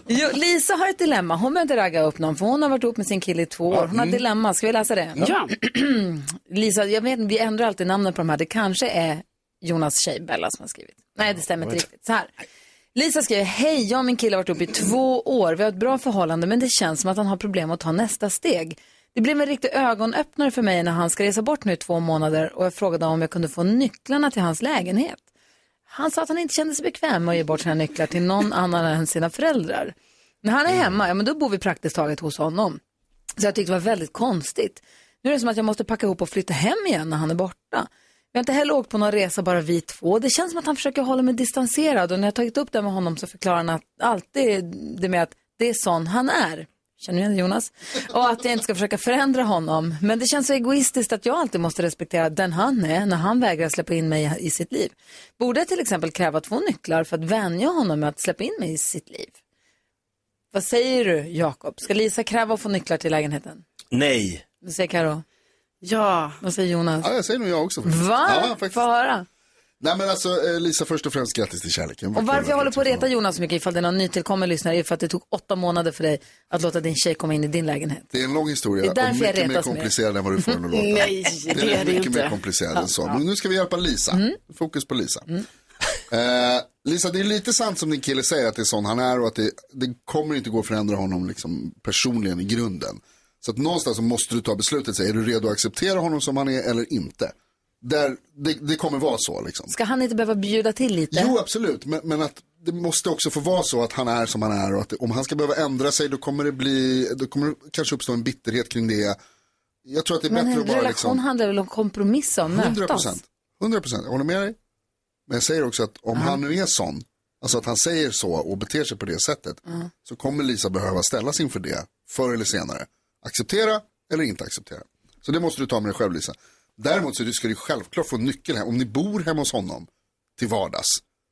Speaker 1: Jo, Lisa har ett dilemma. Hon behöver inte ragga upp någon för hon har varit ihop med sin kille i två år. Hon har ett dilemma. Ska vi läsa det?
Speaker 5: Ja.
Speaker 1: Lisa, jag vet, vi ändrar alltid namnen på de här. Det kanske är Jonas tjej Bella som har skrivit. Nej, det stämmer inte riktigt. Så här. Lisa skriver, hej, jag och min kille har varit ihop i två år. Vi har ett bra förhållande men det känns som att han har problem att ta nästa steg. Det blev en riktig ögonöppnare för mig när han ska resa bort nu i två månader och jag frågade om jag kunde få nycklarna till hans lägenhet. Han sa att han inte kände sig bekväm med att ge bort sina nycklar till någon annan än sina föräldrar. När han är hemma, ja men då bor vi praktiskt taget hos honom. Så jag tyckte det var väldigt konstigt. Nu är det som att jag måste packa ihop och flytta hem igen när han är borta. Vi har inte heller åkt på någon resa, bara vi två. Det känns som att han försöker hålla mig distanserad och när jag tagit upp det med honom så förklarar han att alltid det med att det är sån han är. Känner du igen det, Jonas? Och att jag inte ska försöka förändra honom. Men det känns så egoistiskt att jag alltid måste respektera den han är när han vägrar släppa in mig i sitt liv. Borde jag till exempel kräva två nycklar för att vänja honom med att släppa in mig i sitt liv? Vad säger du, Jakob? Ska Lisa kräva att få nycklar till lägenheten?
Speaker 2: Nej.
Speaker 1: Vad säger Karo?
Speaker 5: Ja.
Speaker 1: Vad säger Jonas?
Speaker 3: Ja, jag säger nog jag också. faktiskt.
Speaker 1: Va?
Speaker 3: Ja, faktiskt.
Speaker 1: Få höra.
Speaker 3: Nej men alltså eh, Lisa, först och främst grattis till kärleken.
Speaker 1: Och varför jag håller på att reta Jonas så mycket ifall det är någon nytillkommen lyssnare är för att det tog åtta månader för dig att låta din tjej komma in i din lägenhet.
Speaker 3: Det är en lång historia
Speaker 1: Det är därför
Speaker 3: och
Speaker 1: jag
Speaker 3: mycket mer
Speaker 1: retas mer.
Speaker 3: komplicerad än vad du får den att låta.
Speaker 1: Nej,
Speaker 3: den
Speaker 1: det är det
Speaker 3: mycket
Speaker 1: inte.
Speaker 3: mer komplicerad
Speaker 1: Ja,
Speaker 3: än så.
Speaker 1: ja. Mm.
Speaker 3: Men nu ska vi hjälpa Lisa. Fokus på Lisa. Eh, Lisa, det är lite sant som din kille säger att det är sån han är och att det, det kommer inte gå att förändra honom liksom personligen i grunden. Så att någonstans så måste du ta beslutet, så här, är du redo att acceptera honom som han är eller inte? Där, det, det kommer vara så liksom.
Speaker 1: Ska han inte behöva bjuda till lite?
Speaker 3: Jo, absolut. Men, men att det måste också få vara så att han är som han är och att det, om han ska behöva ändra sig då kommer det bli, då kommer det kanske uppstå en bitterhet kring det. Jag tror att det är
Speaker 1: Men en
Speaker 3: bättre att
Speaker 1: relation
Speaker 3: bara liksom,
Speaker 1: handlar väl om kompromiss och
Speaker 3: 100
Speaker 1: mötas?
Speaker 3: procent. 100 procent, jag håller med dig. Men jag säger också att om han nu är sån, alltså att han säger så och beter sig på det sättet,
Speaker 1: Ja.
Speaker 3: så kommer Lisa behöva ställas inför det förr eller senare. Acceptera eller inte acceptera. Så det måste du ta med dig själv Lisa. Däremot så ska du självklart få nyckeln hem. Om ni bor hemma hos honom till vardags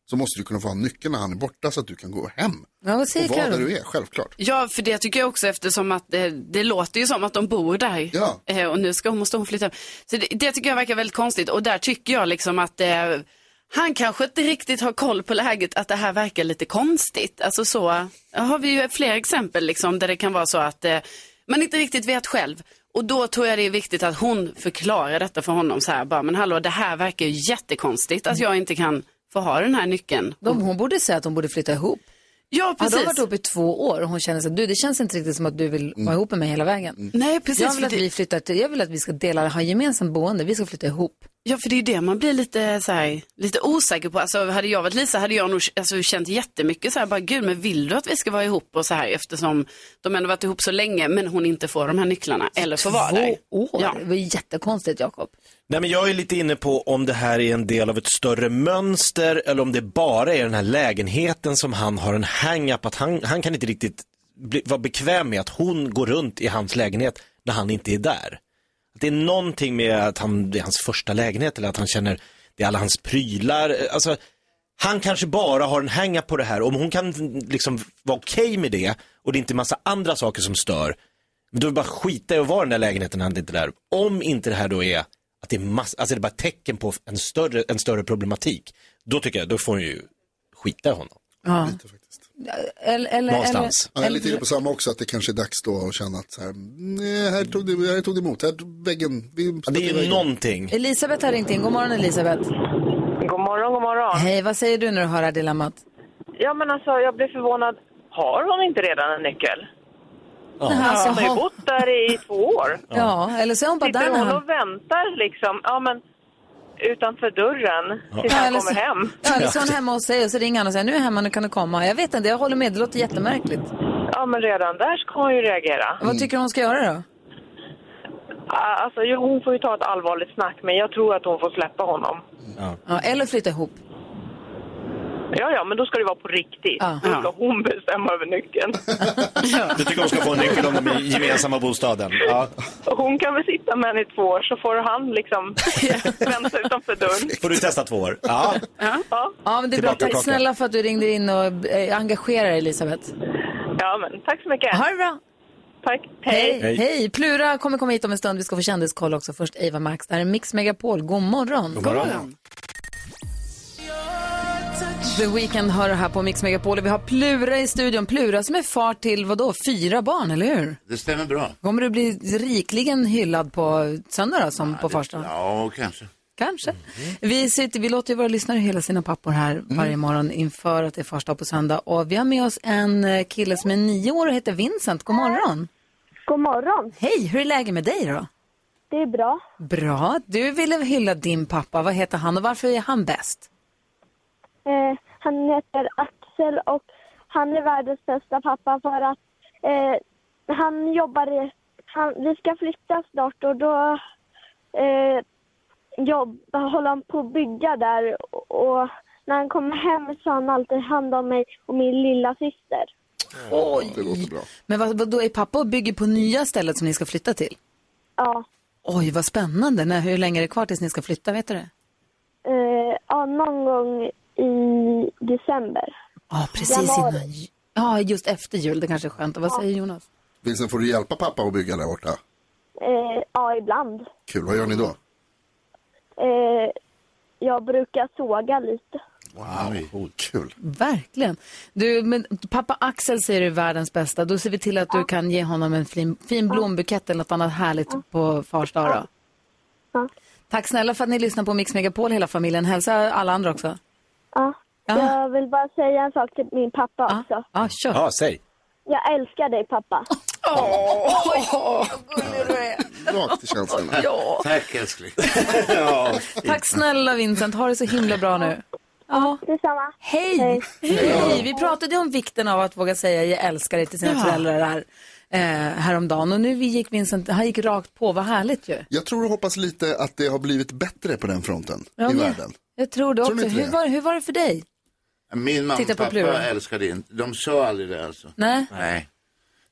Speaker 3: så måste du kunna få ha nyckeln när han är borta så att du kan gå hem.
Speaker 1: Ja, vad
Speaker 3: och vara där du är, självklart.
Speaker 5: Ja, för det tycker jag också eftersom att det, det låter ju som att de bor där.
Speaker 3: Ja.
Speaker 5: Eh, och nu ska hon, måste hon flytta hem. Så det, det tycker jag verkar väldigt konstigt och där tycker jag liksom att eh, han kanske inte riktigt har koll på läget att det här verkar lite konstigt. Alltså så ja, har vi ju fler exempel liksom där det kan vara så att eh, man inte riktigt vet själv. Och då tror jag det är viktigt att hon förklarar detta för honom så här bara, men hallå det här verkar ju jättekonstigt att jag inte kan få ha den här nyckeln.
Speaker 1: De, hon borde säga att de borde flytta ihop.
Speaker 5: Ja,
Speaker 1: Hade de
Speaker 5: precis.
Speaker 1: varit ihop i två år och hon känner sig, du det känns inte riktigt som att du vill
Speaker 3: Mm.
Speaker 1: vara ihop med mig hela vägen.
Speaker 5: Nej, precis,
Speaker 1: Jag vill
Speaker 5: för
Speaker 1: att
Speaker 5: det-
Speaker 1: vi flyttar till, jag vill att vi ska dela, ha gemensamt boende, vi ska flytta ihop.
Speaker 5: Ja, för det är ju det man blir lite, så här, lite osäker på. Alltså, hade jag varit Lisa hade jag nog alltså, känt jättemycket så här, bara gud, men vill du att vi ska vara ihop och så här eftersom de ändå varit ihop så länge men hon inte får de här nycklarna eller får vara
Speaker 1: Två
Speaker 5: där.
Speaker 1: år,
Speaker 5: Ja.
Speaker 1: det var ju jättekonstigt Jakob.
Speaker 2: Nej, men jag är lite inne på om det här är en del av ett större mönster eller om det bara är den här lägenheten som han har en hang-up att han, han kan inte riktigt bli, vara bekväm med att hon går runt i hans lägenhet när han inte är där. Att det är någonting med att han, det är hans första lägenhet eller att han känner det är alla hans prylar. Alltså, han kanske bara har en hänga på det här. Om hon kan liksom vara okej med det och det är inte massa andra saker som stör, men då är det bara att skita i att vara i den där lägenheten när han inte är där. Om inte det här då är att det är mass- alltså det är bara tecken på en större, en större problematik, då tycker jag, då får hon ju skita i honom.
Speaker 1: Ja. Eller, eller,
Speaker 3: Någonstans.
Speaker 1: Eller,
Speaker 3: jag är lite inne
Speaker 1: eller,
Speaker 3: på samma också, att det kanske är dags då att känna att så här, nej, här tog det, här tog det emot, här väggen. Vi
Speaker 2: det är ju någonting.
Speaker 1: Elisabeth har ringt in, god morgon Elisabeth.
Speaker 12: God morgon, god morgon.
Speaker 1: Hej, vad säger du när du hör det här dilemmat?
Speaker 12: Ja, men alltså jag blev förvånad. Har hon inte redan en nyckel?
Speaker 1: Ja. Alltså,
Speaker 12: hon har ju
Speaker 1: har-
Speaker 12: bott där i två år.
Speaker 1: Ja, eller så är hon bara
Speaker 12: Sitter
Speaker 1: där när
Speaker 12: hon
Speaker 1: han...
Speaker 12: och väntar liksom, ja men utanför dörren tills han
Speaker 1: eller
Speaker 12: kommer
Speaker 1: så-
Speaker 12: hem?
Speaker 1: Ja, eller så är hon hemma hos sig och så ringer han och säger nu är jag hemma, nu kan du komma. Jag vet inte, jag håller med, det låter jättemärkligt.
Speaker 12: Ja, men redan där ska hon ju reagera.
Speaker 1: Vad tycker du hon ska göra då?
Speaker 12: Alltså ju- hon får ju ta ett allvarligt snack, men jag tror att hon får släppa honom.
Speaker 1: Ja, eller flytta ihop.
Speaker 12: Ja, ja, men då ska det vara på riktigt. Då ska hon bestämma över nyckeln.
Speaker 2: Du tycker de ska få en nyckel om de är i gemensamma bostaden? Ja.
Speaker 12: Och hon kan väl sitta med henne i två år så får han liksom vänta utanför dörren.
Speaker 2: Får du testa två år? Ja.
Speaker 12: Ja,
Speaker 1: Ja, men det är bra.
Speaker 2: Tillbaka
Speaker 1: Tack
Speaker 2: kakan.
Speaker 1: snälla för att du ringde in och eh, engagerar dig, Elisabeth.
Speaker 12: ja men tack så mycket.
Speaker 1: Ha det bra.
Speaker 12: Tack.
Speaker 1: Hej.
Speaker 12: Hej.
Speaker 1: Hej. Plura kommer komma hit om en stund. Vi ska få kändiskoll också. Först Eva Max. Det här är Mix Megapol. God morgon.
Speaker 2: God morgon.
Speaker 1: The Weeknd hör här på Mix Megapol. Vi har Plura i studion. Plura som är far till vadå? Fyra barn, eller hur?
Speaker 11: Det stämmer bra.
Speaker 1: Kommer du bli rikligen hyllad på söndag då, som på första?
Speaker 11: Ja, kanske.
Speaker 1: Kanske.
Speaker 3: Mm.
Speaker 1: Vi, sitter, vi låter ju våra lyssnare hylla sina pappor här varje morgon inför att det är första på söndag. Och vi har med oss en eh, kille som är nio år och heter Vincent. God morgon.
Speaker 13: God morgon.
Speaker 1: Hej, hur är läget med dig då?
Speaker 13: Det är bra.
Speaker 1: Bra. Du ville hylla din pappa. Vad heter han och varför är han bäst?
Speaker 13: Eh, han heter Axel och han är världens bästa pappa för att eh, han jobbar i... Han, vi ska flytta snart och då eh, jobb, håller han på att bygga där och när han kommer hem så har han alltid hand om mig och min lilla syster.
Speaker 3: Oj. Det låter bra.
Speaker 1: Men vad, vad då är pappa och bygger på nya stället som ni ska flytta till?
Speaker 13: Ja.
Speaker 1: Oj, vad spännande. När, hur länge är det kvar tills ni ska flytta, vet du det?
Speaker 13: Eh, ja, någon gång i december.
Speaker 1: Ja, precis
Speaker 13: Januari.
Speaker 1: innan. ju- Ja, just efter jul. Det kanske är skönt. Och vad säger Jonas?
Speaker 3: Vincent, får du hjälpa pappa att bygga där borta?
Speaker 13: Eh, ja, ibland.
Speaker 3: Kul, vad gör ni då?
Speaker 13: Eh, jag brukar såga lite.
Speaker 3: Wow, kul.
Speaker 1: Verkligen. Du, men pappa Axel säger du är världens bästa. Då ser vi till att du kan ge honom en fin, fin blombukett eller något annat härligt på fars dag då. Tack snälla för att ni lyssnar på Mix Megapol hela familjen. Hälsa alla andra också.
Speaker 13: Ja. Jag vill bara säga en sak till min pappa också.
Speaker 1: Ja, kör.
Speaker 2: Ja, säg.
Speaker 13: Jag älskar dig pappa.
Speaker 3: Rakt i känslorna.
Speaker 1: Ja.
Speaker 11: Tack älskling.
Speaker 1: Tack snälla Vincent. Ha det så himla bra nu. Ja,
Speaker 13: detsamma.
Speaker 1: Hej! Hej! Vi pratade ju om vikten av att våga säga jag älskar dig till sina
Speaker 3: Ja.
Speaker 1: föräldrar här, eh, häromdagen. Och nu gick Vincent, han gick rakt på. Vad härligt ju.
Speaker 3: Jag tror och hoppas lite att det har blivit bättre på den fronten
Speaker 1: Ja,
Speaker 3: i
Speaker 1: men-
Speaker 3: världen.
Speaker 1: Jag tror det
Speaker 11: Tror ni
Speaker 1: också.
Speaker 11: inte
Speaker 1: Hur
Speaker 11: det?
Speaker 1: var, hur var det för dig?
Speaker 11: Min mamma
Speaker 1: Titta
Speaker 11: och
Speaker 1: på
Speaker 11: pappa
Speaker 1: Plura.
Speaker 11: älskade inte. De sa aldrig det alltså.
Speaker 1: Nej.
Speaker 11: Nej.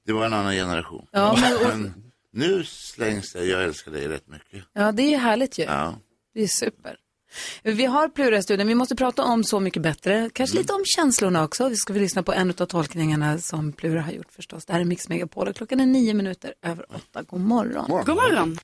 Speaker 11: Det var en annan generation.
Speaker 1: Ja, men-
Speaker 11: Men nu slängs det, jag älskar dig rätt mycket.
Speaker 1: Ja, det är ju härligt ju.
Speaker 11: Ja.
Speaker 1: Det är super. Vi har Plura i studion. Vi måste prata om Så mycket bättre. Kanske
Speaker 5: Mm.
Speaker 1: lite om känslorna också. Vi ska vi lyssna på en av tolkningarna som Plura har gjort förstås. Det här är Mix Megapol och klockan är nio minuter över åtta. God morgon.
Speaker 5: God morgon.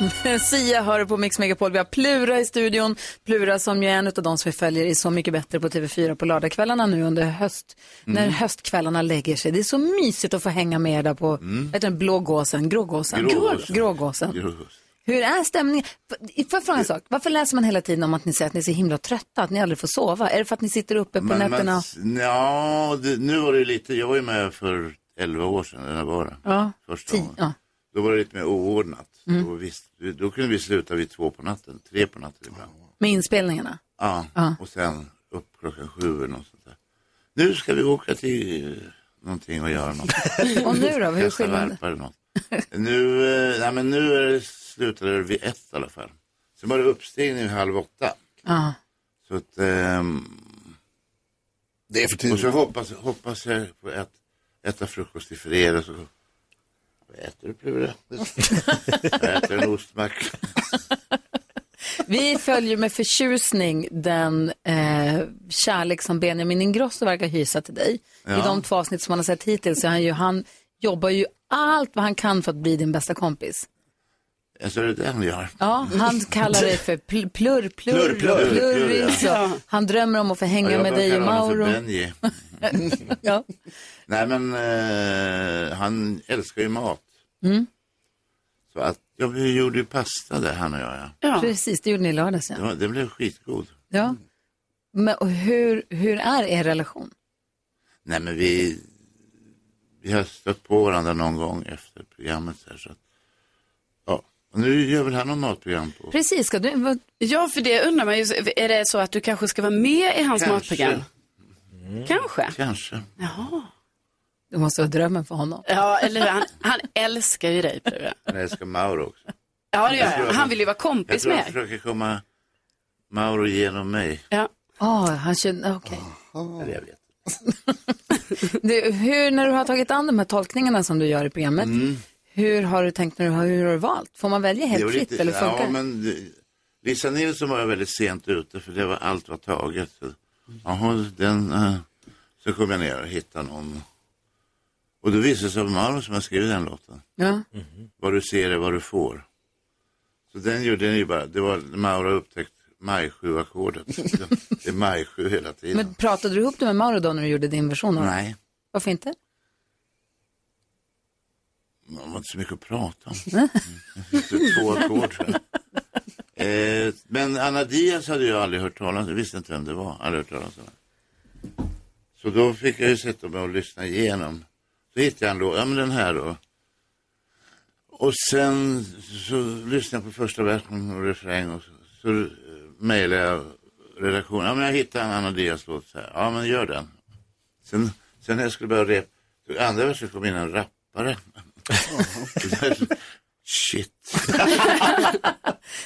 Speaker 1: Sia hör på Mix Megapol. Vi har Plura i studion. Plura som ju är en av de som vi följer i Så mycket bättre på TV4 på lördagskvällarna nu under höst. När
Speaker 7: Mm.
Speaker 1: höstkvällarna lägger sig. Det är så mysigt att få hänga med er där på,
Speaker 5: Mm.
Speaker 1: vad heter den, blågåsen, grågåsen.
Speaker 7: Grågåsen.
Speaker 1: grågåsen.
Speaker 11: Grågås.
Speaker 1: Hur är stämningen? F- Får jag fråga en sak? Varför läser man hela tiden om att ni säger att ni är så himla trötta, att ni aldrig får sova? Är det för att ni sitter uppe på nätterna?
Speaker 11: ja, det, nu var det lite, jag var ju med för 11 år sedan, eller när var det?
Speaker 1: Ja,
Speaker 11: Första
Speaker 1: ti-
Speaker 11: gången.
Speaker 1: ja.
Speaker 11: Då var det lite mer oordnat.
Speaker 1: Mm.
Speaker 11: Då, visst, då kunde vi sluta vid två på natten, tre på natten ibland.
Speaker 1: Med inspelningarna?
Speaker 11: Ja,
Speaker 1: Ja.
Speaker 11: och sen upp klockan sju eller något sånt där. Nu ska vi åka till eh, någonting och göra något.
Speaker 1: Och nu då? Hur
Speaker 11: Kasta
Speaker 1: skiljer man det?
Speaker 11: värpar eller något. Nu, eh, nej, men nu är det, slutade det vid ett i alla fall. Sen var det uppstigning vid halv åtta.
Speaker 1: Ja.
Speaker 11: Så att, ehm, det är för tidigt. Och så hoppas, hoppas jag på att äta frukost i fredag. Så... Vad äter du Plura? jag äter en ostmacka.
Speaker 1: Vi följer med förtjusning den eh, kärlek som Benjamin Ingrosso verkar hysa till dig. I
Speaker 7: Ja.
Speaker 1: de två avsnitt som han har sett hittills så är han, ju, han jobbar ju allt vad han kan för att bli din bästa kompis.
Speaker 11: Alltså det är det han gör.
Speaker 1: Ja, han kallar dig för pl- plurr, plurr,
Speaker 11: Plurr, plurr,
Speaker 1: och plurris.
Speaker 11: plurr, ja.
Speaker 1: och Han drömmer om att få hänga
Speaker 11: Ja, jag
Speaker 1: med
Speaker 11: bara
Speaker 1: dig och
Speaker 11: kallar honom
Speaker 1: Mauro.
Speaker 11: För Benji.
Speaker 1: ja.
Speaker 11: Nej men eh, han älskar ju mat.
Speaker 1: Mm.
Speaker 11: Så att, ja, vi gjorde ju pasta där han och jag. Ja.
Speaker 1: Precis, det gjorde ni i lördags. Ja.
Speaker 11: Det, var, det blev skitgod.
Speaker 1: Ja. Men och hur, hur är er relation?
Speaker 11: Nej men vi, vi har stött på varandra någon gång efter programmet. Så här, så att, ja. Och nu gör väl han något matprogram på
Speaker 1: Precis, ska du...
Speaker 5: Ja, för det undrar man ju. Är det så att du kanske ska vara med i hans
Speaker 11: Kanske.
Speaker 5: matprogram? Kanske.
Speaker 11: Kanske.
Speaker 5: Jaha.
Speaker 1: Det måste vara drömmen för honom.
Speaker 5: Ja, eller hur? han, han älskar ju dig, Plura.
Speaker 11: Han älskar Mauro också.
Speaker 5: Ja, det
Speaker 11: Jag
Speaker 5: gör
Speaker 11: tror
Speaker 5: han.
Speaker 11: att
Speaker 5: Han vill ju vara
Speaker 11: Jag
Speaker 5: kompis
Speaker 11: tror
Speaker 5: med
Speaker 11: han
Speaker 5: er.
Speaker 11: försöker komma Mauro genom mig.
Speaker 5: Ja.
Speaker 1: Oh, han känner, okej.
Speaker 11: Eller jag vet.
Speaker 1: Du, Hur, när du har tagit an de här tolkningarna som du gör i programmet, hur har du tänkt när du har, hur har du valt? Får man välja
Speaker 11: Mm. Det
Speaker 1: helt
Speaker 11: var
Speaker 1: fritt
Speaker 11: lite-
Speaker 1: eller funkar
Speaker 11: Ja, men eh, Lisa Nilsson var jag väldigt sent ute för det var allt var taget. Så, Jaha, den... eh, Så kom jag ner och hittade någon. Och då visade det sig att Mauro som har skrivit den låten.
Speaker 1: Ja.
Speaker 11: Vad du ser är vad du får. Så den gjorde den ju bara, det var Mauro upptäckt maj sju ackordet Det är maj sju hela tiden.
Speaker 1: Men pratade du ihop det med Mauro då när du gjorde din version? av det?
Speaker 11: Nej,
Speaker 1: Varför inte?
Speaker 11: man var inte så mycket att prata om. Mm. Det är Två ackord tror jag. Eh, men Anna Diaz hade jag aldrig hört talas om, jag visste inte vem det var. Aldrig hört talas om. henne. Så då fick jag ju sätta mig och lyssna igenom. Så hittade jag en låt, ja men den här då. Och sen så lyssnade jag på första versen och refräng och så, så eh, mejlade jag redaktionen. Ja men jag hittade en Anna Diaz låt så här. Ja men gör den. Sen, sen när jag skulle börja repa, andra versen kom in en rappare. Shit.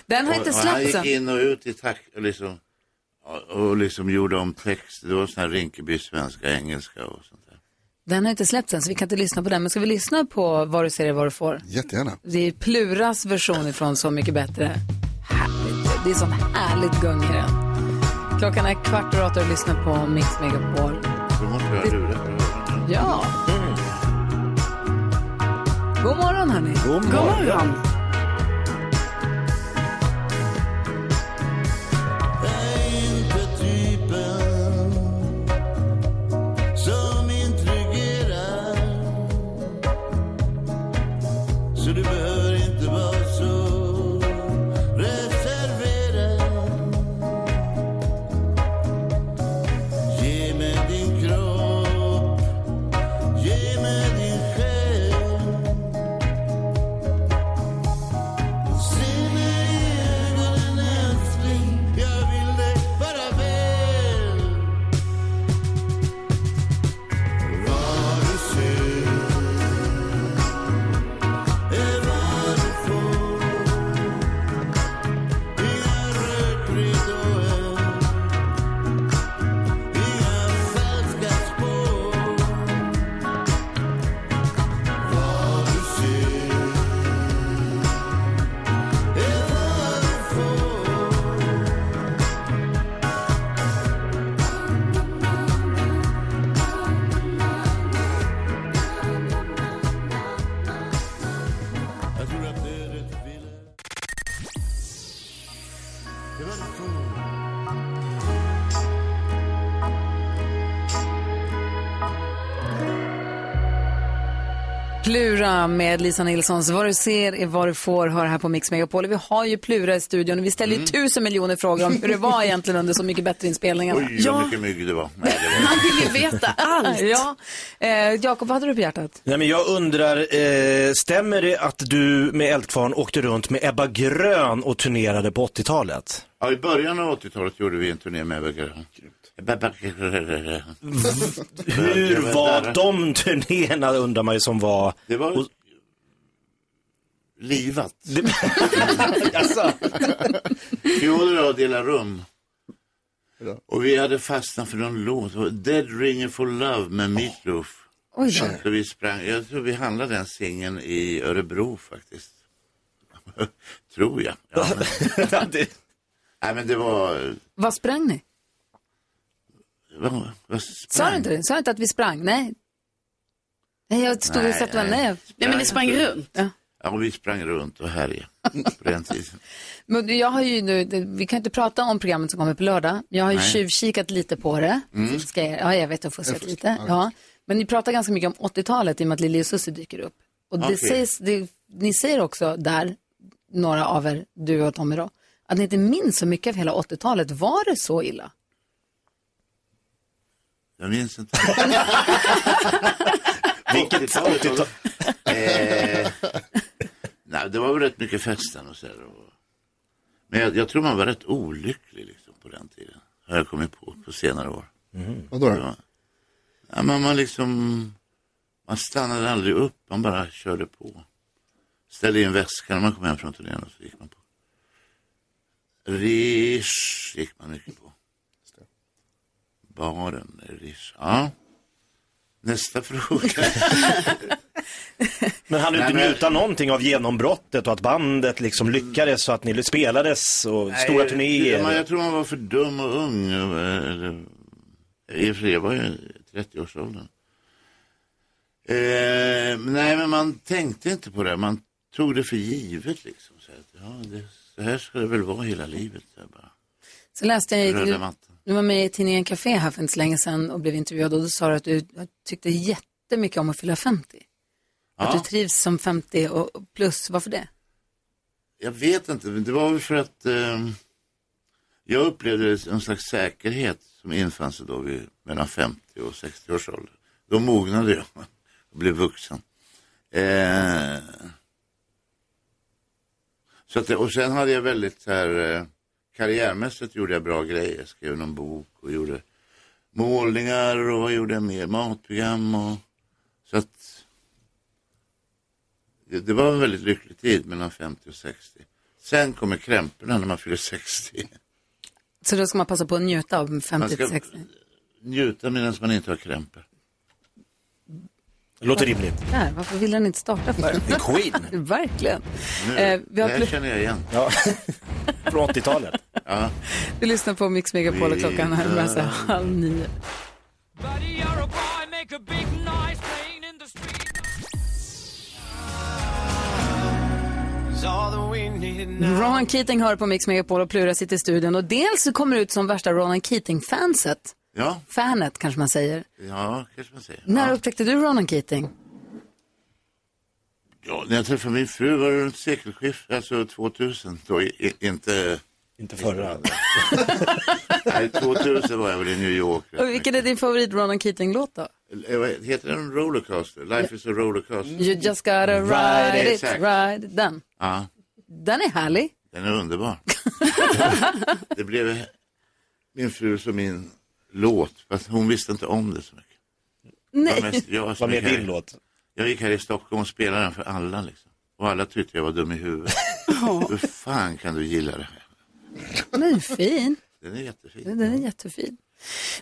Speaker 1: Den har
Speaker 11: Och-
Speaker 1: inte
Speaker 11: och Han
Speaker 1: släppts
Speaker 11: gick
Speaker 1: än.
Speaker 11: in och ut i takt och liksom, och, och liksom gjorde om text. Det var sån här Rinkeby svenska, engelska och sånt.
Speaker 1: Den har inte släppts än så vi kan inte lyssna på den. Men ska vi lyssna på vad du ser är vad du får?
Speaker 3: Jättegärna.
Speaker 1: Det är Pluras version ifrån Så mycket bättre. Härligt. Det är sånt härligt gung i den. Klockan är kvart över åtta och du lyssnar på Mix Megapol.
Speaker 11: Då måste jag ha lurat.
Speaker 1: Ja. God morgon hörni.
Speaker 11: God
Speaker 1: morgon.
Speaker 7: Som intrigerar Så du behöver inte vara så reserverad Ge mig din kropp Ge mig din själ Se mig i ögonen älskling Jag vill dig bara väl Vad du ser är vad du får Inga rökridåer, inga falska spår Vad du ser är vad du får Jag tror att ödet ville Det var en fråga.
Speaker 1: Plura med Lisa Nilssons Vad du ser är vad du får hör här på Mix Megapol. Vi har ju Plura i studion och vi ställer ju
Speaker 11: Mm.
Speaker 1: tusen miljoner frågor om hur det var egentligen under Så mycket bättre inspelningarna.
Speaker 11: Oj, vad mycket mygg det var. Nej, det var...
Speaker 5: Man vill ju veta allt.
Speaker 1: ja. eh, Jakob, vad hade du på hjärtat?
Speaker 2: Nej, men jag undrar, eh, stämmer det att du med Eldkvarn åkte runt med Ebba Grön och turnerade på 80-talet?
Speaker 11: Ja, i början av 80-talet gjorde vi en turné med Ebba Grön. Ebba Grön.
Speaker 2: Hur var
Speaker 11: Där.
Speaker 2: de turnéerna undrar man ju som var...
Speaker 11: Det var livat.
Speaker 2: alltså.
Speaker 11: Fioler och dela rum. Och vi hade fastnat för någon låt. Det var Dead Ringer for Love med Meat Loaf.
Speaker 1: Oj då.
Speaker 11: Så vi sprang, jag tror vi handlade den singeln i Örebro faktiskt. tror jag. Ja,
Speaker 2: men...
Speaker 11: Nej men det var...
Speaker 1: Vad sprang ni?
Speaker 11: Vad, vad
Speaker 1: Sa du inte det? Sa du inte att vi sprang? Nej. Nej, jag stod och
Speaker 11: Nej,
Speaker 1: sa att det var
Speaker 11: nej.
Speaker 1: nej.
Speaker 11: Nej, men ni sprang runt.
Speaker 1: Ja.
Speaker 11: Ja, och vi sprang runt och härjade på den tiden.
Speaker 1: Men jag har ju nu, det- vi kan inte prata om programmet som kommer på lördag. Jag har ju
Speaker 11: Nej.
Speaker 1: tjuvkikat lite på det.
Speaker 11: Mm.
Speaker 1: Ska jag, ja, jag vet, jag har fuskat
Speaker 11: Jag
Speaker 1: lite.
Speaker 11: fuskar.
Speaker 1: Ja. Men ni pratar ganska mycket om 80-talet i och med att Lili och Susie dyker upp. Och det
Speaker 11: Okej.
Speaker 1: sägs, det, ni säger också där, några av er, du och Tommy då, att ni inte minns så mycket av hela 80-talet. Var det så illa?
Speaker 11: Jag minns inte. Vilket 80-tal? eh, nej, det var väl rätt mycket festen och så här. Och... Men jag, jag tror man var rätt olycklig liksom, på den tiden. Har jag kommit på på senare år.
Speaker 3: Mm. Vadå då?
Speaker 11: Ja. Ja, men man liksom, man stannade aldrig upp, man bara körde på. Ställde in väskan när man kom hem från turnén och så gick man på. Rish gick man mycket på. Baren, Rish. Ja. Nästa fråga.
Speaker 2: Men han du inte
Speaker 11: Nej, men-
Speaker 2: njuta någonting av genombrottet och att bandet liksom lyckades så att ni spelades och stora
Speaker 11: Nej, Man,
Speaker 2: turnéer?
Speaker 11: jag tror man var för dum och ung. eh, eller- I och för sig var jag i 30-årsåldern. Eh, nej, men man tänkte inte på det. Man tog det för givet liksom. Så, att, ja, det, så här ska det väl vara hela livet. Så här bara.
Speaker 1: Så läste jag,
Speaker 11: Röda
Speaker 1: du,
Speaker 11: mattan.
Speaker 1: du var med i tidningen Café här för inte så länge sedan och blev intervjuad och då sa du att du tyckte jättemycket om att fylla 50. Att du
Speaker 11: Ja,
Speaker 1: trivs som 50 och och plus, varför det?
Speaker 11: jag vet inte, men det var väl för att eh, jag upplevde en slags säkerhet som infann sig då vid mellan 50 och 60 års ålder. Då mognade jag och blev vuxen. Eh, så att, det- och sen hade jag väldigt så här, eh, karriärmässigt gjorde jag bra grejer. Jag skrev någon bok och gjorde målningar och vad gjorde jag mer? Matprogram och så att det, det var en väldigt lycklig tid mellan 50 och 60. Sen kommer krämporna när man fyller 60.
Speaker 1: Så då ska man passa på att njuta av
Speaker 11: Man
Speaker 1: 50
Speaker 11: ska
Speaker 1: 60
Speaker 11: njuta medan man inte har krämpor.
Speaker 2: Låter rimligt.
Speaker 1: Där, varför vill den inte starta för?
Speaker 2: Queen.
Speaker 1: Verkligen.
Speaker 11: Nu,
Speaker 1: Eh, vi har
Speaker 11: det här
Speaker 1: pl-
Speaker 11: känner jag igen.
Speaker 2: Ja. Från 80-talet.
Speaker 11: Ja.
Speaker 1: Du lyssnar på Mix Megapol och klockan är med sig halv nio. Ronan Keating hör på Mix Megapol och Plura sitter i studion och dels så kommer du ut som värsta Ronan Keating-fanset.
Speaker 11: Ja,
Speaker 1: Fanet kanske man säger.
Speaker 11: ja, kanske man säger.
Speaker 1: När upptäckte du Ronan Keating?
Speaker 11: Ja, när jag träffade min fru var det runt sekelskiftet, alltså 2000. Då, i, i, inte... Inte förra. Nej, 2000 var jag väl i New York.
Speaker 1: Och vilken är din favorit Ronan Keating-låt då?
Speaker 11: Eh, vad Heter den Rollercoaster? Life is a rollercoaster.
Speaker 1: You just gotta ride
Speaker 11: Mm. Right,
Speaker 1: it,
Speaker 11: exakt.
Speaker 1: ride it. Den.
Speaker 11: Ja,
Speaker 1: Den är härlig.
Speaker 11: den är underbar. det blev min fru som min låt, fast hon visste inte om det så mycket. Det var mest jag som
Speaker 2: Vad
Speaker 11: gick
Speaker 2: blev
Speaker 11: här-
Speaker 7: Mm.
Speaker 2: din låt?
Speaker 11: Jag gick här i Stockholm och spelade den för alla liksom. Och alla tyckte jag var dum i huvudet. Hur fan kan du gilla det här?
Speaker 1: Den är fin.
Speaker 11: Den är jättefin.
Speaker 1: Den är jättefin.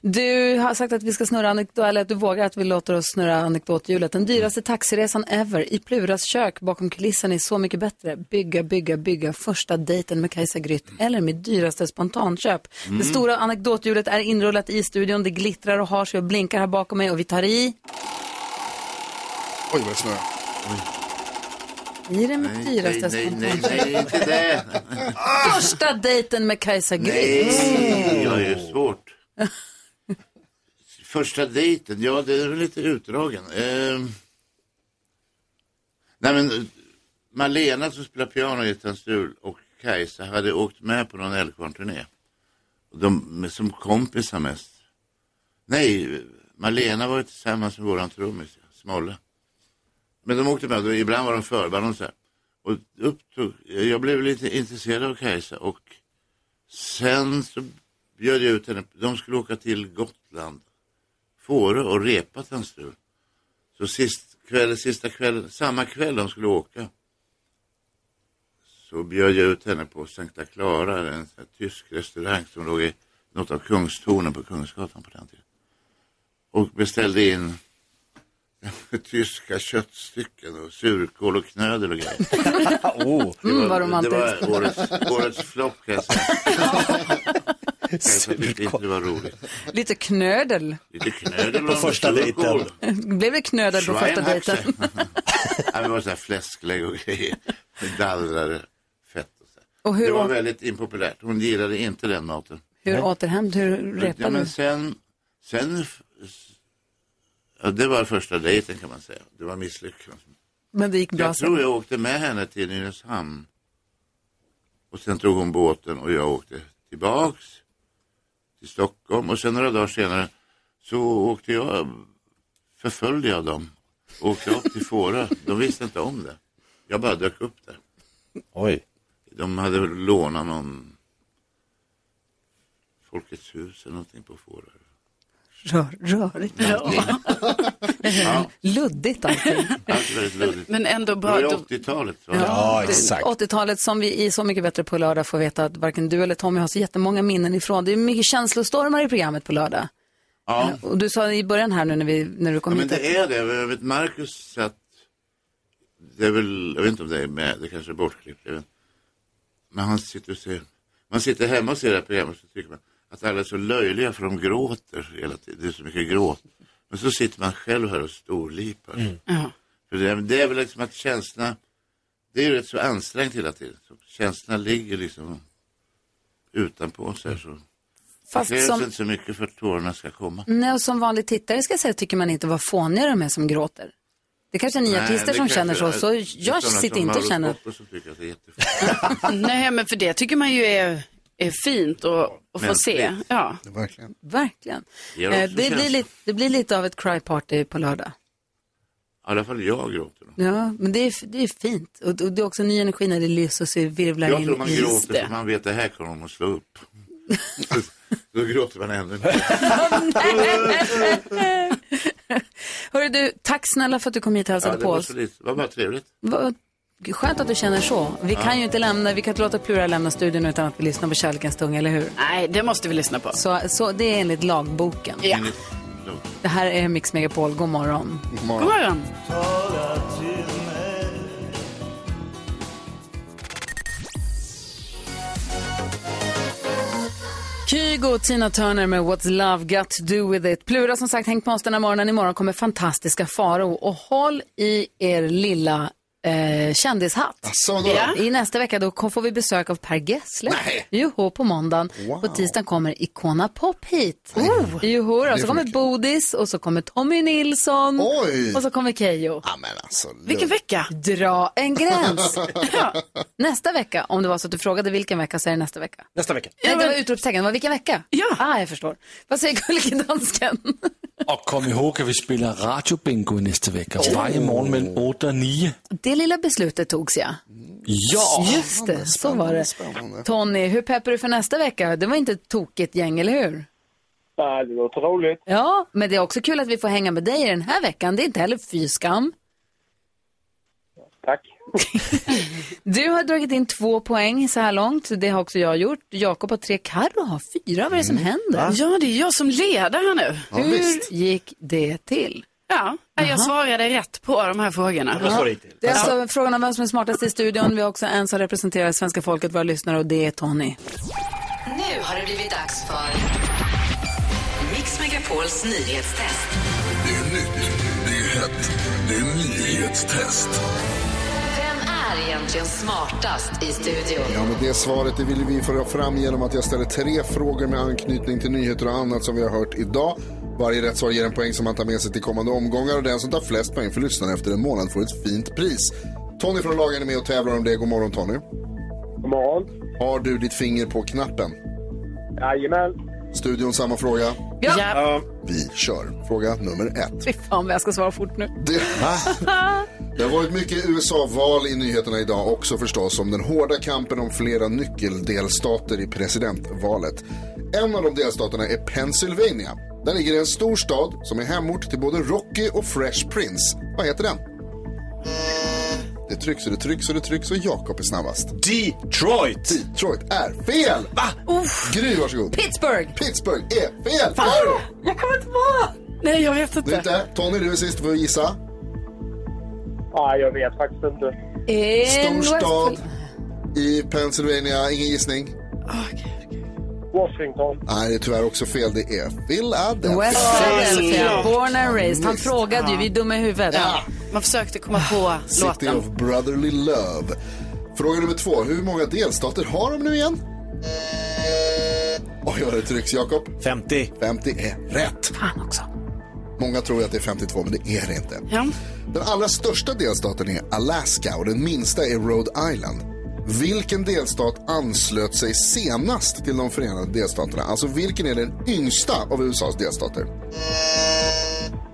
Speaker 1: Du har sagt att vi ska snurra anekdot, eller att du vågar att vi låter oss snurra anekdothjulet. Den dyraste taxiresan ever i Pluras kök bakom kulisserna är Så mycket bättre. Bygga, bygga, bygga första dejten med Kajsa Grytt eller mitt dyraste spontanköp. Det
Speaker 7: Mm.
Speaker 1: stora anekdothjulet är inrullat i studion. Det glittrar och har sig och blinkar här bakom mig och vi tar i,
Speaker 3: Oj, vad det snöar.
Speaker 1: i det med
Speaker 3: Nej,
Speaker 1: dyraste
Speaker 11: nej, nej,
Speaker 1: spontanköp.
Speaker 11: nej, nej, inte det.
Speaker 1: Första dejten med Kajsa Grytt.
Speaker 11: Nej, jag är svårt. Första dejten, ja det är väl lite utdragen. Eh, nej men eh, Malena som spelar piano i Tansul och Kajsa hade åkt med på någon Älvkvarn-turné. Och De, med- som kompisar mest. Nej, eh, Malena var ju tillsammans med våran trummis, Smolle. Men de åkte med, och ibland var de förband och så här. Och upptog, jag blev lite intresserad av Kajsa och Sen så bjöd jag ut henne. De skulle åka till Gotland, Fårö och repa Tennstul. Så sist kväll, sista kvällen, samma kväll de skulle åka så bjöd jag ut henne på Sankta Clara, en sån här tysk restaurang som låg i något av Kungstornen på Kungsgatan på den tiden. Och beställde in tyska köttstycken och surkål och knödel och grejer.
Speaker 2: oh,
Speaker 1: Mm, vad romantiskt.
Speaker 11: Det var årets, årets flopp kan jag säga. Kanske tyckte inte det var roligt.
Speaker 1: Mm. Lite knödel.
Speaker 11: Lite knödel
Speaker 2: På
Speaker 11: och
Speaker 2: första
Speaker 11: surkål.
Speaker 2: dejten.
Speaker 1: Blev det knödel på första
Speaker 11: Schweinhaxe.
Speaker 1: dejten?
Speaker 11: ja, det var så här fläsklägg och grejer. Med Dallrade fett och så. här.
Speaker 1: Och hur
Speaker 11: det var
Speaker 1: åt-
Speaker 11: väldigt impopulärt. Hon gillade inte den maten.
Speaker 1: Hur återhämnd, hur
Speaker 11: Ja,
Speaker 1: repade du?
Speaker 11: men sen, sen, ja, det var första dejten kan man säga. Det var misslyckat.
Speaker 1: Men det gick bra
Speaker 11: Jag
Speaker 1: sen.
Speaker 11: tror jag åkte med henne till Nynäshamn. Och sen tog hon båten och jag åkte tillbaks till Stockholm. Och sen några dagar senare så åkte jag, förföljde jag dem. Och åkte upp till Fårö. De visste inte om det. Jag bara dök upp där.
Speaker 2: Oj.
Speaker 11: De hade väl lånat någon Folkets hus eller någonting på Fårö.
Speaker 1: rör, rörigt. Luddigt allting.
Speaker 11: Allt är väldigt luddigt.
Speaker 5: Men ändå bra
Speaker 11: Det var ju
Speaker 5: att-
Speaker 11: 80-talet. va?
Speaker 1: Ja, 80-talet som vi i Så mycket bättre på lördag får veta att varken du eller Tommy har så jättemånga minnen ifrån. Det är mycket känslostormar i programmet på lördag.
Speaker 11: Ja.
Speaker 1: Och du sa i början här nu när, vi, när du kom
Speaker 11: Ja, men
Speaker 1: hit att-
Speaker 11: det är det. Jag vet Marcus att det är väl, jag vet inte om det är med, det kanske är bortklippt. Jag vet. inte. Men han sitter och ser, man sitter hemma och ser det här programmet så tycker man att alla är så löjliga för de gråter hela tiden. Det är så mycket gråt. Men så sitter man själv här och storlipar. För det, det är väl liksom att känslorna, det är ju rätt så ansträngt hela tiden. Så känslorna ligger liksom utanpå så här. Så.
Speaker 1: Fast
Speaker 11: det krävs
Speaker 1: som-
Speaker 11: inte så mycket för att tårarna ska komma.
Speaker 1: Nej, och som vanlig tittare ska jag säga tycker man inte vad fåniga de är som gråter. Det kanske är ni
Speaker 11: Nej,
Speaker 1: artister
Speaker 11: det
Speaker 1: som
Speaker 11: kanske
Speaker 1: känner så,
Speaker 11: är-
Speaker 1: så
Speaker 11: det är
Speaker 1: jag
Speaker 11: sådana
Speaker 1: sitter
Speaker 11: som
Speaker 1: inte och
Speaker 11: Mauro
Speaker 1: känner.
Speaker 11: Scocco som tycker att det är jättefint.
Speaker 5: Nej, men för det tycker man ju är, är fint att, att få se.
Speaker 11: Mänskligt.
Speaker 5: Ja.
Speaker 11: Verkligen.
Speaker 1: Verkligen.
Speaker 11: Det gör
Speaker 1: Eh,
Speaker 11: också
Speaker 1: Det blir,
Speaker 11: känslor.
Speaker 1: lite, det blir lite av ett cry party på lördag.
Speaker 11: I alla fall jag gråter. då.
Speaker 1: Ja, men det är, det är fint. Och, och det är också ny energi när det lyser och så virvlar in.
Speaker 11: Jag tror man
Speaker 1: i-
Speaker 11: gråter för man vet det här kommer de att slå upp. Då gråter man ännu mer.
Speaker 1: Hörru du, tack snälla för att du kom hit och
Speaker 11: Ja,
Speaker 1: hälsade
Speaker 11: det
Speaker 1: på
Speaker 11: var
Speaker 1: oss.
Speaker 11: så lite- det var bara trevligt.
Speaker 1: Vad skönt att du känner så. Vi
Speaker 11: Ja.
Speaker 1: kan ju inte lämna, vi kan inte låta Plura lämna studion utan att vi lyssnar på Kärlekens tunga, eller hur?
Speaker 5: Nej, det måste vi lyssna på.
Speaker 1: Så, så det är enligt lagboken. Det här är Mix Megapol, god morgon. God
Speaker 5: God morgon.
Speaker 1: Kygo och Tina Turner med What's Love Got To Do With It. Plura som sagt hängt på oss den här morgonen. Imorgon kommer fantastiska Faro och håll i er lilla eh, kändishatt.
Speaker 3: vadå då? Ja.
Speaker 1: I nästa vecka då kom- får vi besök av Per Gessle.
Speaker 3: Nej.
Speaker 1: Joho på måndagen.
Speaker 3: Wow.
Speaker 1: På tisdagen kommer Icona Pop hit. Oh. Joho,
Speaker 3: Det är
Speaker 1: och så kommer
Speaker 3: för
Speaker 1: Bodis och så kommer Tommy Nilsson.
Speaker 3: Oj.
Speaker 1: Och så kommer Keyyo.
Speaker 3: Men alltså,
Speaker 1: Vilken
Speaker 5: vecka?
Speaker 1: Dra en gräns. ja. Nästa vecka, om det var så att du frågade vilken vecka, så är det nästa vecka.
Speaker 2: Nästa vecka.
Speaker 1: Nej, det var utropstecken. Det var vilken vecka? Ja. Ah, jag förstår. Vad säger gullige dansken?
Speaker 6: Og kom ihåg, at vi spiller Radio Bingo i næste vecka. Varje morgen mellem 8 og 9.
Speaker 1: Det lilla beslutet togs, ja.
Speaker 6: Ja!
Speaker 1: Just det, så var det. Tony, hur peppar du för nästa vecka? Det var inte ett tokigt gäng, eller hur?
Speaker 14: Nej, det låter roligt.
Speaker 1: Ja, men det är också kul att vi får hänga med dig i den här veckan. Det är inte heller fy skam.
Speaker 14: Tack.
Speaker 1: Du har dragit in två poäng så här långt. Det har också jag gjort. Jakob har tre, Carro har fyra. Vad är det som händer?
Speaker 5: Ja, det är jag som leder här nu.
Speaker 1: Hur gick det till?
Speaker 5: Ja, jag svarade rätt på de här frågorna.
Speaker 1: Det är alltså frågan om vem som är smartast i studion. Vi har också en som representerar svenska folket, våra lyssnare, och det är Tony.
Speaker 4: Nu har det blivit dags för Mix Megapols nyhetstest.
Speaker 15: Det är nytt, det är hett, det är nyhetstest.
Speaker 4: Vem är egentligen smartast i studion?
Speaker 3: Ja, men det svaret det vill vi föra fram genom att jag ställer tre frågor med anknytning till nyheter och annat som vi har hört idag. Varje rätt svar ger en poäng som man tar med sig till kommande omgångar och den som tar flest poäng för lyssnarna efter en månad får ett fint pris. Tony från lagen är med och tävlar om det. God morgon Tony. God morgon. Har du ditt finger på knappen? Jajamän. Studion samma fråga.
Speaker 1: Ja. Ja.
Speaker 3: Vi kör. Fråga nummer ett.
Speaker 1: Fy fan vad jag ska svara fort nu.
Speaker 3: Det, det har varit mycket USA-val i nyheterna idag också förstås om den hårda kampen om flera nyckeldelstater i presidentvalet. En av de delstaterna är Pennsylvania. Där ligger en stor stad som är hemort till både Rocky och Fresh Prince. Vad heter den? Det trycks och det trycks och det trycks och Jakob är snabbast. Detroit! Detroit är fel! Va? Gry, varsågod.
Speaker 1: Pittsburgh!
Speaker 3: Pittsburgh är fel!
Speaker 1: Fan.
Speaker 3: Carro.
Speaker 1: Jag kommer inte på! Nej, jag vet
Speaker 3: Du är inte. Tony, du är sist. Du får gissa.
Speaker 14: Nej, jag vet faktiskt inte.
Speaker 1: En
Speaker 3: Storstad i Pennsylvania. Ingen gissning?
Speaker 14: Washington.
Speaker 3: Nej, det är tyvärr också fel. Det är Philadelphia.
Speaker 1: West Philadelphia, born and raised. Han
Speaker 3: Visst.
Speaker 1: frågade ju, vi är dumma i huvudet. Ah,
Speaker 5: Man försökte komma på
Speaker 3: City
Speaker 5: låten.
Speaker 3: of Brotherly Love. Fråga nummer två. Hur många delstater har de nu igen? Oj, vad det trycks, Jakob. 50. 50 är rätt.
Speaker 1: Fan också.
Speaker 3: Många tror ju att det är 52, men det är det inte. Den allra största delstaten är Alaska och den minsta är Rhode Island. Vilken delstat anslöt sig senast till de förenade delstaterna? Alltså vilken är den yngsta av USAs delstater?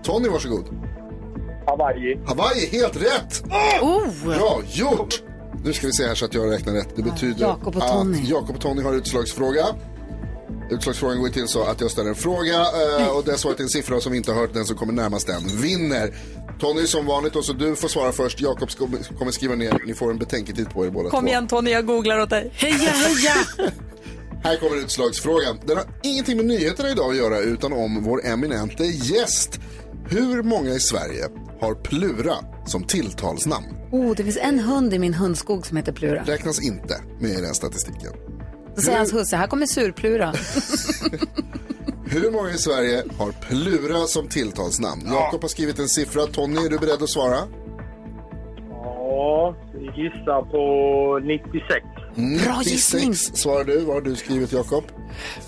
Speaker 3: Tony, varsågod.
Speaker 14: Hawaii.
Speaker 3: Hawaii, helt rätt!
Speaker 1: Oh!
Speaker 3: Bra gjort! Nu ska vi se här så att jag räknar rätt. Det betyder
Speaker 14: Jakob och Tony.
Speaker 3: att Jakob och Tony har utslagsfråga. Utslagsfrågan går ju till så att jag ställer en fråga eh, och det svaret är en siffra som vi inte har hört. Den som kommer närmast den vinner. Tony, som vanligt, och så du får svara först. Jakob sk- kommer skriva ner. Ni får en betänketid på er båda
Speaker 1: Kom
Speaker 3: två.
Speaker 1: igen Tony, jag googlar åt dig. Heja, heja!
Speaker 3: Här kommer utslagsfrågan. Den har ingenting med nyheterna idag att göra utan om vår eminente gäst. Hur många i Sverige har Plura som tilltalsnamn?
Speaker 1: Oh, det finns en hund i min hundskog som heter Plura.
Speaker 3: Räknas inte med i den statistiken.
Speaker 1: Då säger hans husse, här kommer surplura.
Speaker 3: Hur många i Sverige har Plura som tilltalsnamn? Jakob har skrivit en siffra. Tony, är du beredd att svara?
Speaker 14: Ja, vi gissar på 96.
Speaker 1: Mm.
Speaker 3: 96 svarar du. Vad har du skrivit, Jakob?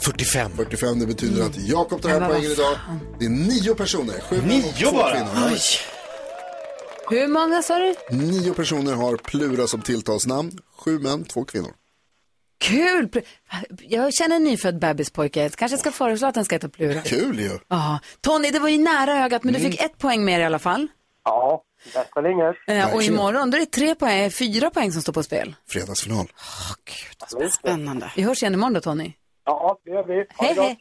Speaker 3: 45. 45, det betyder att Jakob tar
Speaker 1: Mm. Men
Speaker 3: hem
Speaker 1: vad
Speaker 3: poängen idag. Det är nio personer. Sju män och
Speaker 2: Nio
Speaker 3: två
Speaker 2: bara?
Speaker 3: kvinnor.
Speaker 1: Oj. Hur många sa du?
Speaker 3: Nio personer har Plura som tilltalsnamn. Sju män, två kvinnor.
Speaker 1: Kul! Pl- Jag känner en nyfödd bebispojke. Jag Kanske ska föreslå att den ska heta Plura.
Speaker 3: Kul ju.
Speaker 1: Ja. Tony, det var ju nära ögat, men du
Speaker 3: Mm.
Speaker 1: fick ett poäng mer i alla fall.
Speaker 14: Ja, bästa linjen.
Speaker 1: Eh, och imorgon, då är det tre poäng, eh, fyra poäng som står på spel.
Speaker 3: Fredagsfinal.
Speaker 1: Spännande. Vi hörs igen imorgon då, Tony.
Speaker 14: Ja, det gör vi.
Speaker 1: Hej,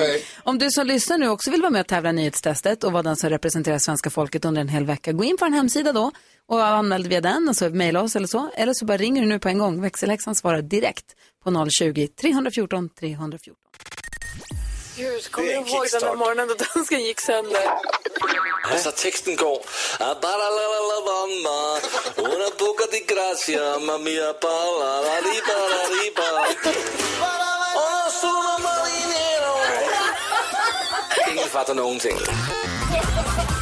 Speaker 1: hej, Om du som lyssnar nu också vill vara med och tävla i nyhetstestet och vara den som representerar svenska folket under en hel vecka, gå in på en hemsida då och anmäl dig via den och så mejla oss eller så. Eller så bara ringer du nu på en gång. Växelhäxan svarar direkt på 020-314 314.
Speaker 7: Gud,
Speaker 1: kommer du ihåg den där morgonen då dansken gick sönder?
Speaker 16: Alltså texten går... Baralalalabamba, una poca di grazia, mamma mia, balalariba,
Speaker 7: Åh, sono
Speaker 16: Ingen fattar någonting.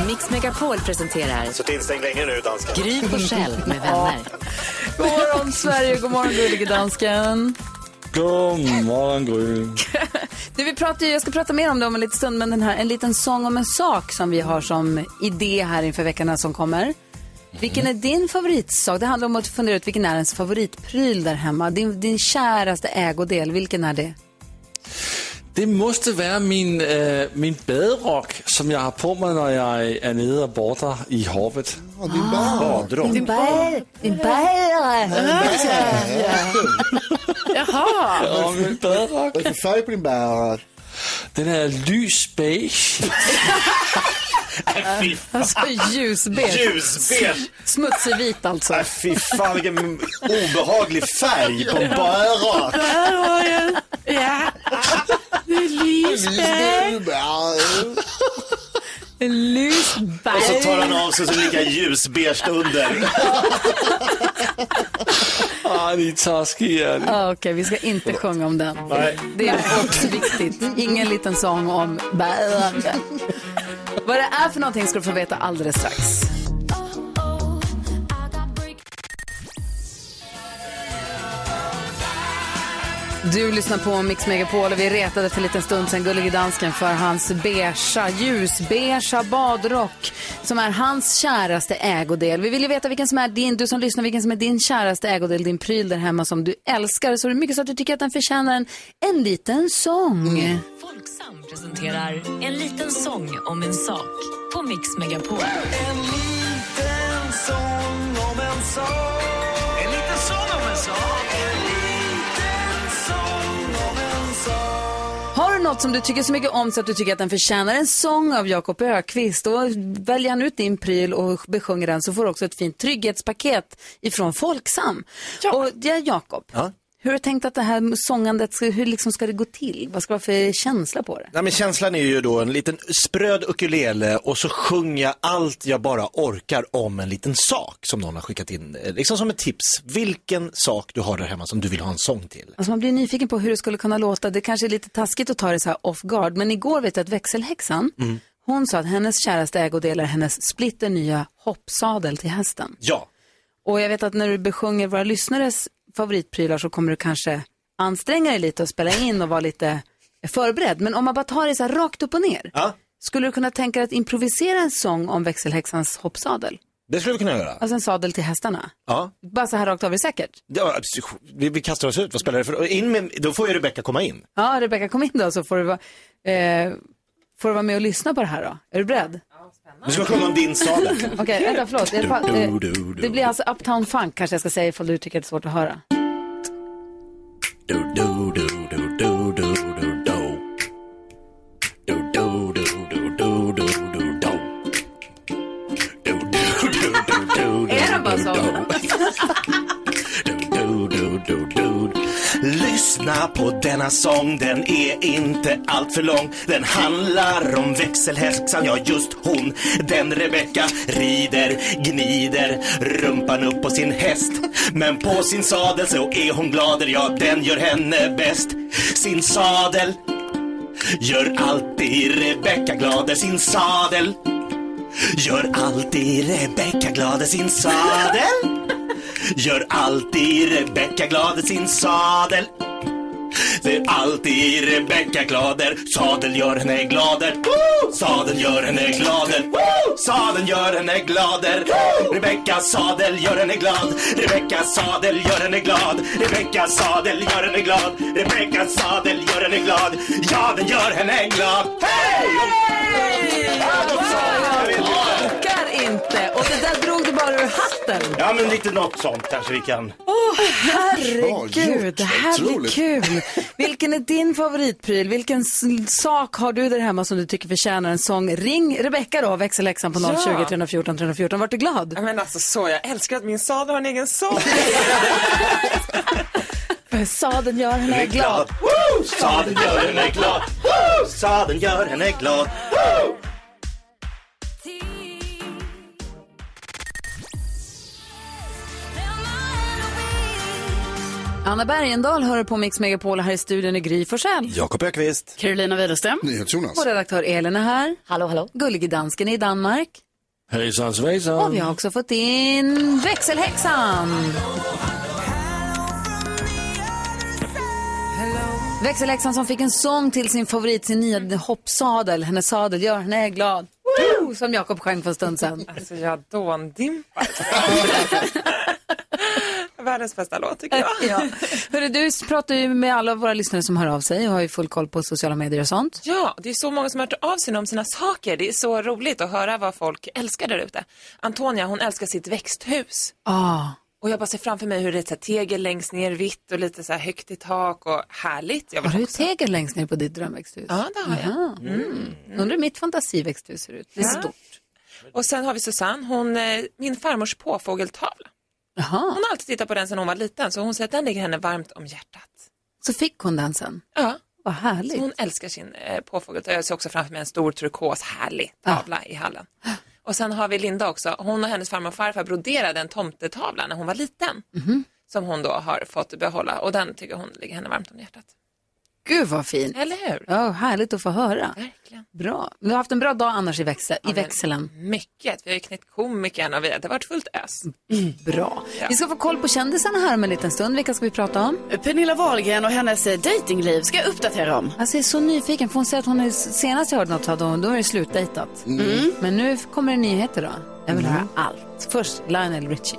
Speaker 17: Mix Megapol presenterar
Speaker 2: Så tillstängd länge nu, dansken.
Speaker 17: Gry Forssell med vänner.
Speaker 1: God morgon Sverige, god morgon gullige dansken.
Speaker 6: God morgon, Gry.
Speaker 1: Du, vi pratar, ju- jag ska prata mer om det om en liten stund, men den här, en liten sång om en sak som vi har som idé här inför veckorna som kommer. Vilken är din favoritsak? Det handlar om att fundera ut vilken är ens favoritpryl där hemma. Din, din käraste ägodel, vilken är det?
Speaker 6: Det måste vara min, øh, min baderock, som jag har på mig när jag är nede och badar i Ah. havet.
Speaker 3: Ja, din badrock.
Speaker 1: Din bär, din
Speaker 5: Jaha.
Speaker 6: Ja, min baderock. Vad är det för färg på din baderock? Den är lys beige.
Speaker 1: Alltså ljusbeige.
Speaker 2: Äh, Ljusbeige. Äh,
Speaker 1: Smutsig vit alltså.
Speaker 2: Fy fan vilken obehaglig färg på bara.
Speaker 7: Bärhagen. Ja. Det är Lisbeth.
Speaker 1: Lysberg.
Speaker 2: Och så tar han av sig så ligger ljusbeige under.
Speaker 6: ah, ni är taskiga.
Speaker 1: Ah, Okej, vi ska inte sjunga om den.
Speaker 6: Nej.
Speaker 1: Det är också viktigt. Ingen liten sång om bärande. Vad det är för någonting ska du få veta alldeles strax. Du lyssnar på Mix Megapol och vi retade för en liten stund sedan Gullige Dansken för hans beiga, ljusbeiga badrock som är hans käraste ägodel. Vi vill ju veta vilken som är din, du som lyssnar, vilken som är din käraste ägodel, din pryl där hemma som du älskar. Så det är mycket så att du tycker att den förtjänar en, en liten sång.
Speaker 17: Folksam presenterar En liten sång om en sak på Mix Megapol.
Speaker 7: En liten sång om en sak. En liten sång om en sak. En liten sång om en sak.
Speaker 1: Har du något som du tycker så mycket om så att du tycker att den förtjänar en sång av Jakob Ökvist då väljer han ut din pryl och besjunger den så får du också ett fint trygghetspaket ifrån Folksam. Och det är Jakob. Hur har du tänkt att det här sångandet, ska, hur liksom ska det gå till? Vad ska det vara för känsla på det?
Speaker 2: Nej, men känslan är ju då en liten spröd ukulele och så sjunger jag allt jag bara orkar om en liten sak som någon har skickat in. eh, Liksom som ett tips. Vilken sak du har där hemma som du vill ha en sång till.
Speaker 1: Alltså man blir nyfiken på hur det skulle kunna låta. Det kanske är lite taskigt att ta det så här off guard, men igår vet jag att växelhäxan,
Speaker 2: Mm.
Speaker 1: hon sa att hennes käraste ägodel är hennes splitter nya hoppsadel till hästen.
Speaker 2: Ja.
Speaker 1: Och jag vet att när du besjunger våra lyssnares favoritprylar så kommer du kanske anstränga dig lite och spela in och vara lite förberedd. Men om man bara tar det så här rakt upp och ner. Skulle du kunna tänka dig att improvisera en sång om växelhäxans hoppsadel?
Speaker 2: Det skulle vi kunna göra.
Speaker 1: Alltså en sadel till hästarna.
Speaker 2: Ja.
Speaker 1: Bara så här rakt av är det säkert.
Speaker 2: Ja, abs- vi, vi kastar oss ut, vad spelar det för in med, Då får ju Rebecca komma in.
Speaker 1: Ja, Rebecka kom in då så får du vara, eh, får du vara med och lyssna på det här då. Är du beredd?
Speaker 2: Du ska sjunga om din sadel.
Speaker 1: Okej, vänta, förlåt. Det, är pa- eh, det blir alltså Uptown Funk kanske jag ska säga ifall du tycker att det är svårt att höra. Är det bara så?
Speaker 2: Lyssna på denna sång, den är inte allt för lång. Den handlar om växelhäxan, ja just hon. Den Rebecka rider, gnider rumpan upp på sin häst. Men på sin sadel så är hon glader, ja den gör henne bäst. Sin sadel gör alltid Rebecka glader, sin sadel. Gör alltid Rebecka glader, sin sadel. Gör alltid Rebecka glad i sin sadel Det är alltid Rebecka glader Sadel gör henne glader Woo! Sadel gör henne glader Woo! Sadel gör henne glader Rebecka sadel gör henne glad Rebecka sadel gör henne glad Rebecka sadel gör henne glad Rebecka sadel gör henne glad Ja, den gör henne glad Hej!
Speaker 1: Orkar inte. Och det där drog du bara ur hatten.
Speaker 2: Ja, men lite något sånt kanske vi kan
Speaker 1: Åh, herregud. Det här blir
Speaker 2: Otroligt.
Speaker 1: kul. Vilken är din favoritpryl? Vilken s- sak har du där hemma som du tycker förtjänar en sång? Ring Rebecka då, växelläxan på 020
Speaker 18: Ja.
Speaker 1: 314 314. Vart du glad?
Speaker 18: Ja, Men alltså så, jag älskar att min sadel har en egen sång.
Speaker 1: För sadeln gör
Speaker 2: henne
Speaker 1: henne glad.
Speaker 2: glad. Woo! Sadeln gör henne glad. Woo! Sadeln gör henne glad. Woo!
Speaker 1: Anna Bergendahl hör på Mix Megapol här i studion i Gry Forssell.
Speaker 19: Jakob Ökvist.
Speaker 5: Carolina Widerström. Alltså.
Speaker 1: Vår redaktör Elin är här. Hallå, hallå. Gullige dansken är i Danmark.
Speaker 20: Hejsan svejsan.
Speaker 1: Och vi har också fått in växelhäxan. Växelhäxan som fick en sång till sin favorit, sin nya hoppsadel. Hennes sadel gör henne glad. Woo! Som Jakob sjöng för en stund sedan.
Speaker 18: Alltså jag dåndimpar. Världens bästa låt tycker jag.
Speaker 1: ja. Hörru, du pratar ju med alla våra lyssnare som hör av sig och har ju full koll på sociala medier och sånt.
Speaker 18: Ja, det är så många som har hört av sig om sina saker. Det är så roligt att höra vad folk älskar där ute. Antonia, hon älskar sitt växthus.
Speaker 1: Ah.
Speaker 18: Och jag bara ser framför mig hur det är så här tegel längst ner, vitt och lite så här högt i tak och härligt. Jag
Speaker 1: Har
Speaker 18: bara,
Speaker 1: du tegel längst ner på ditt drömväxthus?
Speaker 18: Ja, det har jag.
Speaker 1: Jaha. Mm. Undrar hur mitt fantasiväxthus ser ut. Det är
Speaker 18: Ja.
Speaker 1: stort.
Speaker 18: Och sen har vi Susanne, hon, eh, min farmors påfågeltavla. Hon har alltid tittat på den sedan hon var liten, så hon säger att den ligger henne varmt om hjärtat.
Speaker 1: Så fick hon den sen.
Speaker 18: Ja.
Speaker 1: Vad härligt.
Speaker 18: Så hon älskar sin eh, påfågeltavla. Jag ser också framför mig en stor turkos, härlig tavla i hallen. Och sen har vi Linda också. Hon och hennes farmor och farfar broderade en tomtetavla när hon var liten. Som hon då har fått behålla och den tycker hon ligger henne varmt om hjärtat.
Speaker 1: Gud vad fint.
Speaker 18: Eller hur?
Speaker 1: Ja, härligt att få höra.
Speaker 18: Verkligen.
Speaker 1: Bra. Du har haft en bra dag annars i, växel, i
Speaker 18: men-
Speaker 1: växeln.
Speaker 18: Mycket. Vi har ju knäckt komikern och vi, det har varit fullt ös.
Speaker 1: Bra.
Speaker 18: Mm. Ja.
Speaker 1: Vi ska få koll på kändisarna här om en liten stund. Vilka ska vi prata om?
Speaker 5: Pernilla Wahlgren och hennes eh, dejtingliv ska jag uppdatera om.
Speaker 1: Alltså jag är så nyfiken, för hon säger att hon är, senast jag hörde något hade hon, då är det slutdejtat.
Speaker 5: Mm.
Speaker 1: Men nu kommer det nyheter då. Jag vill höra allt. Först Lionel Richie.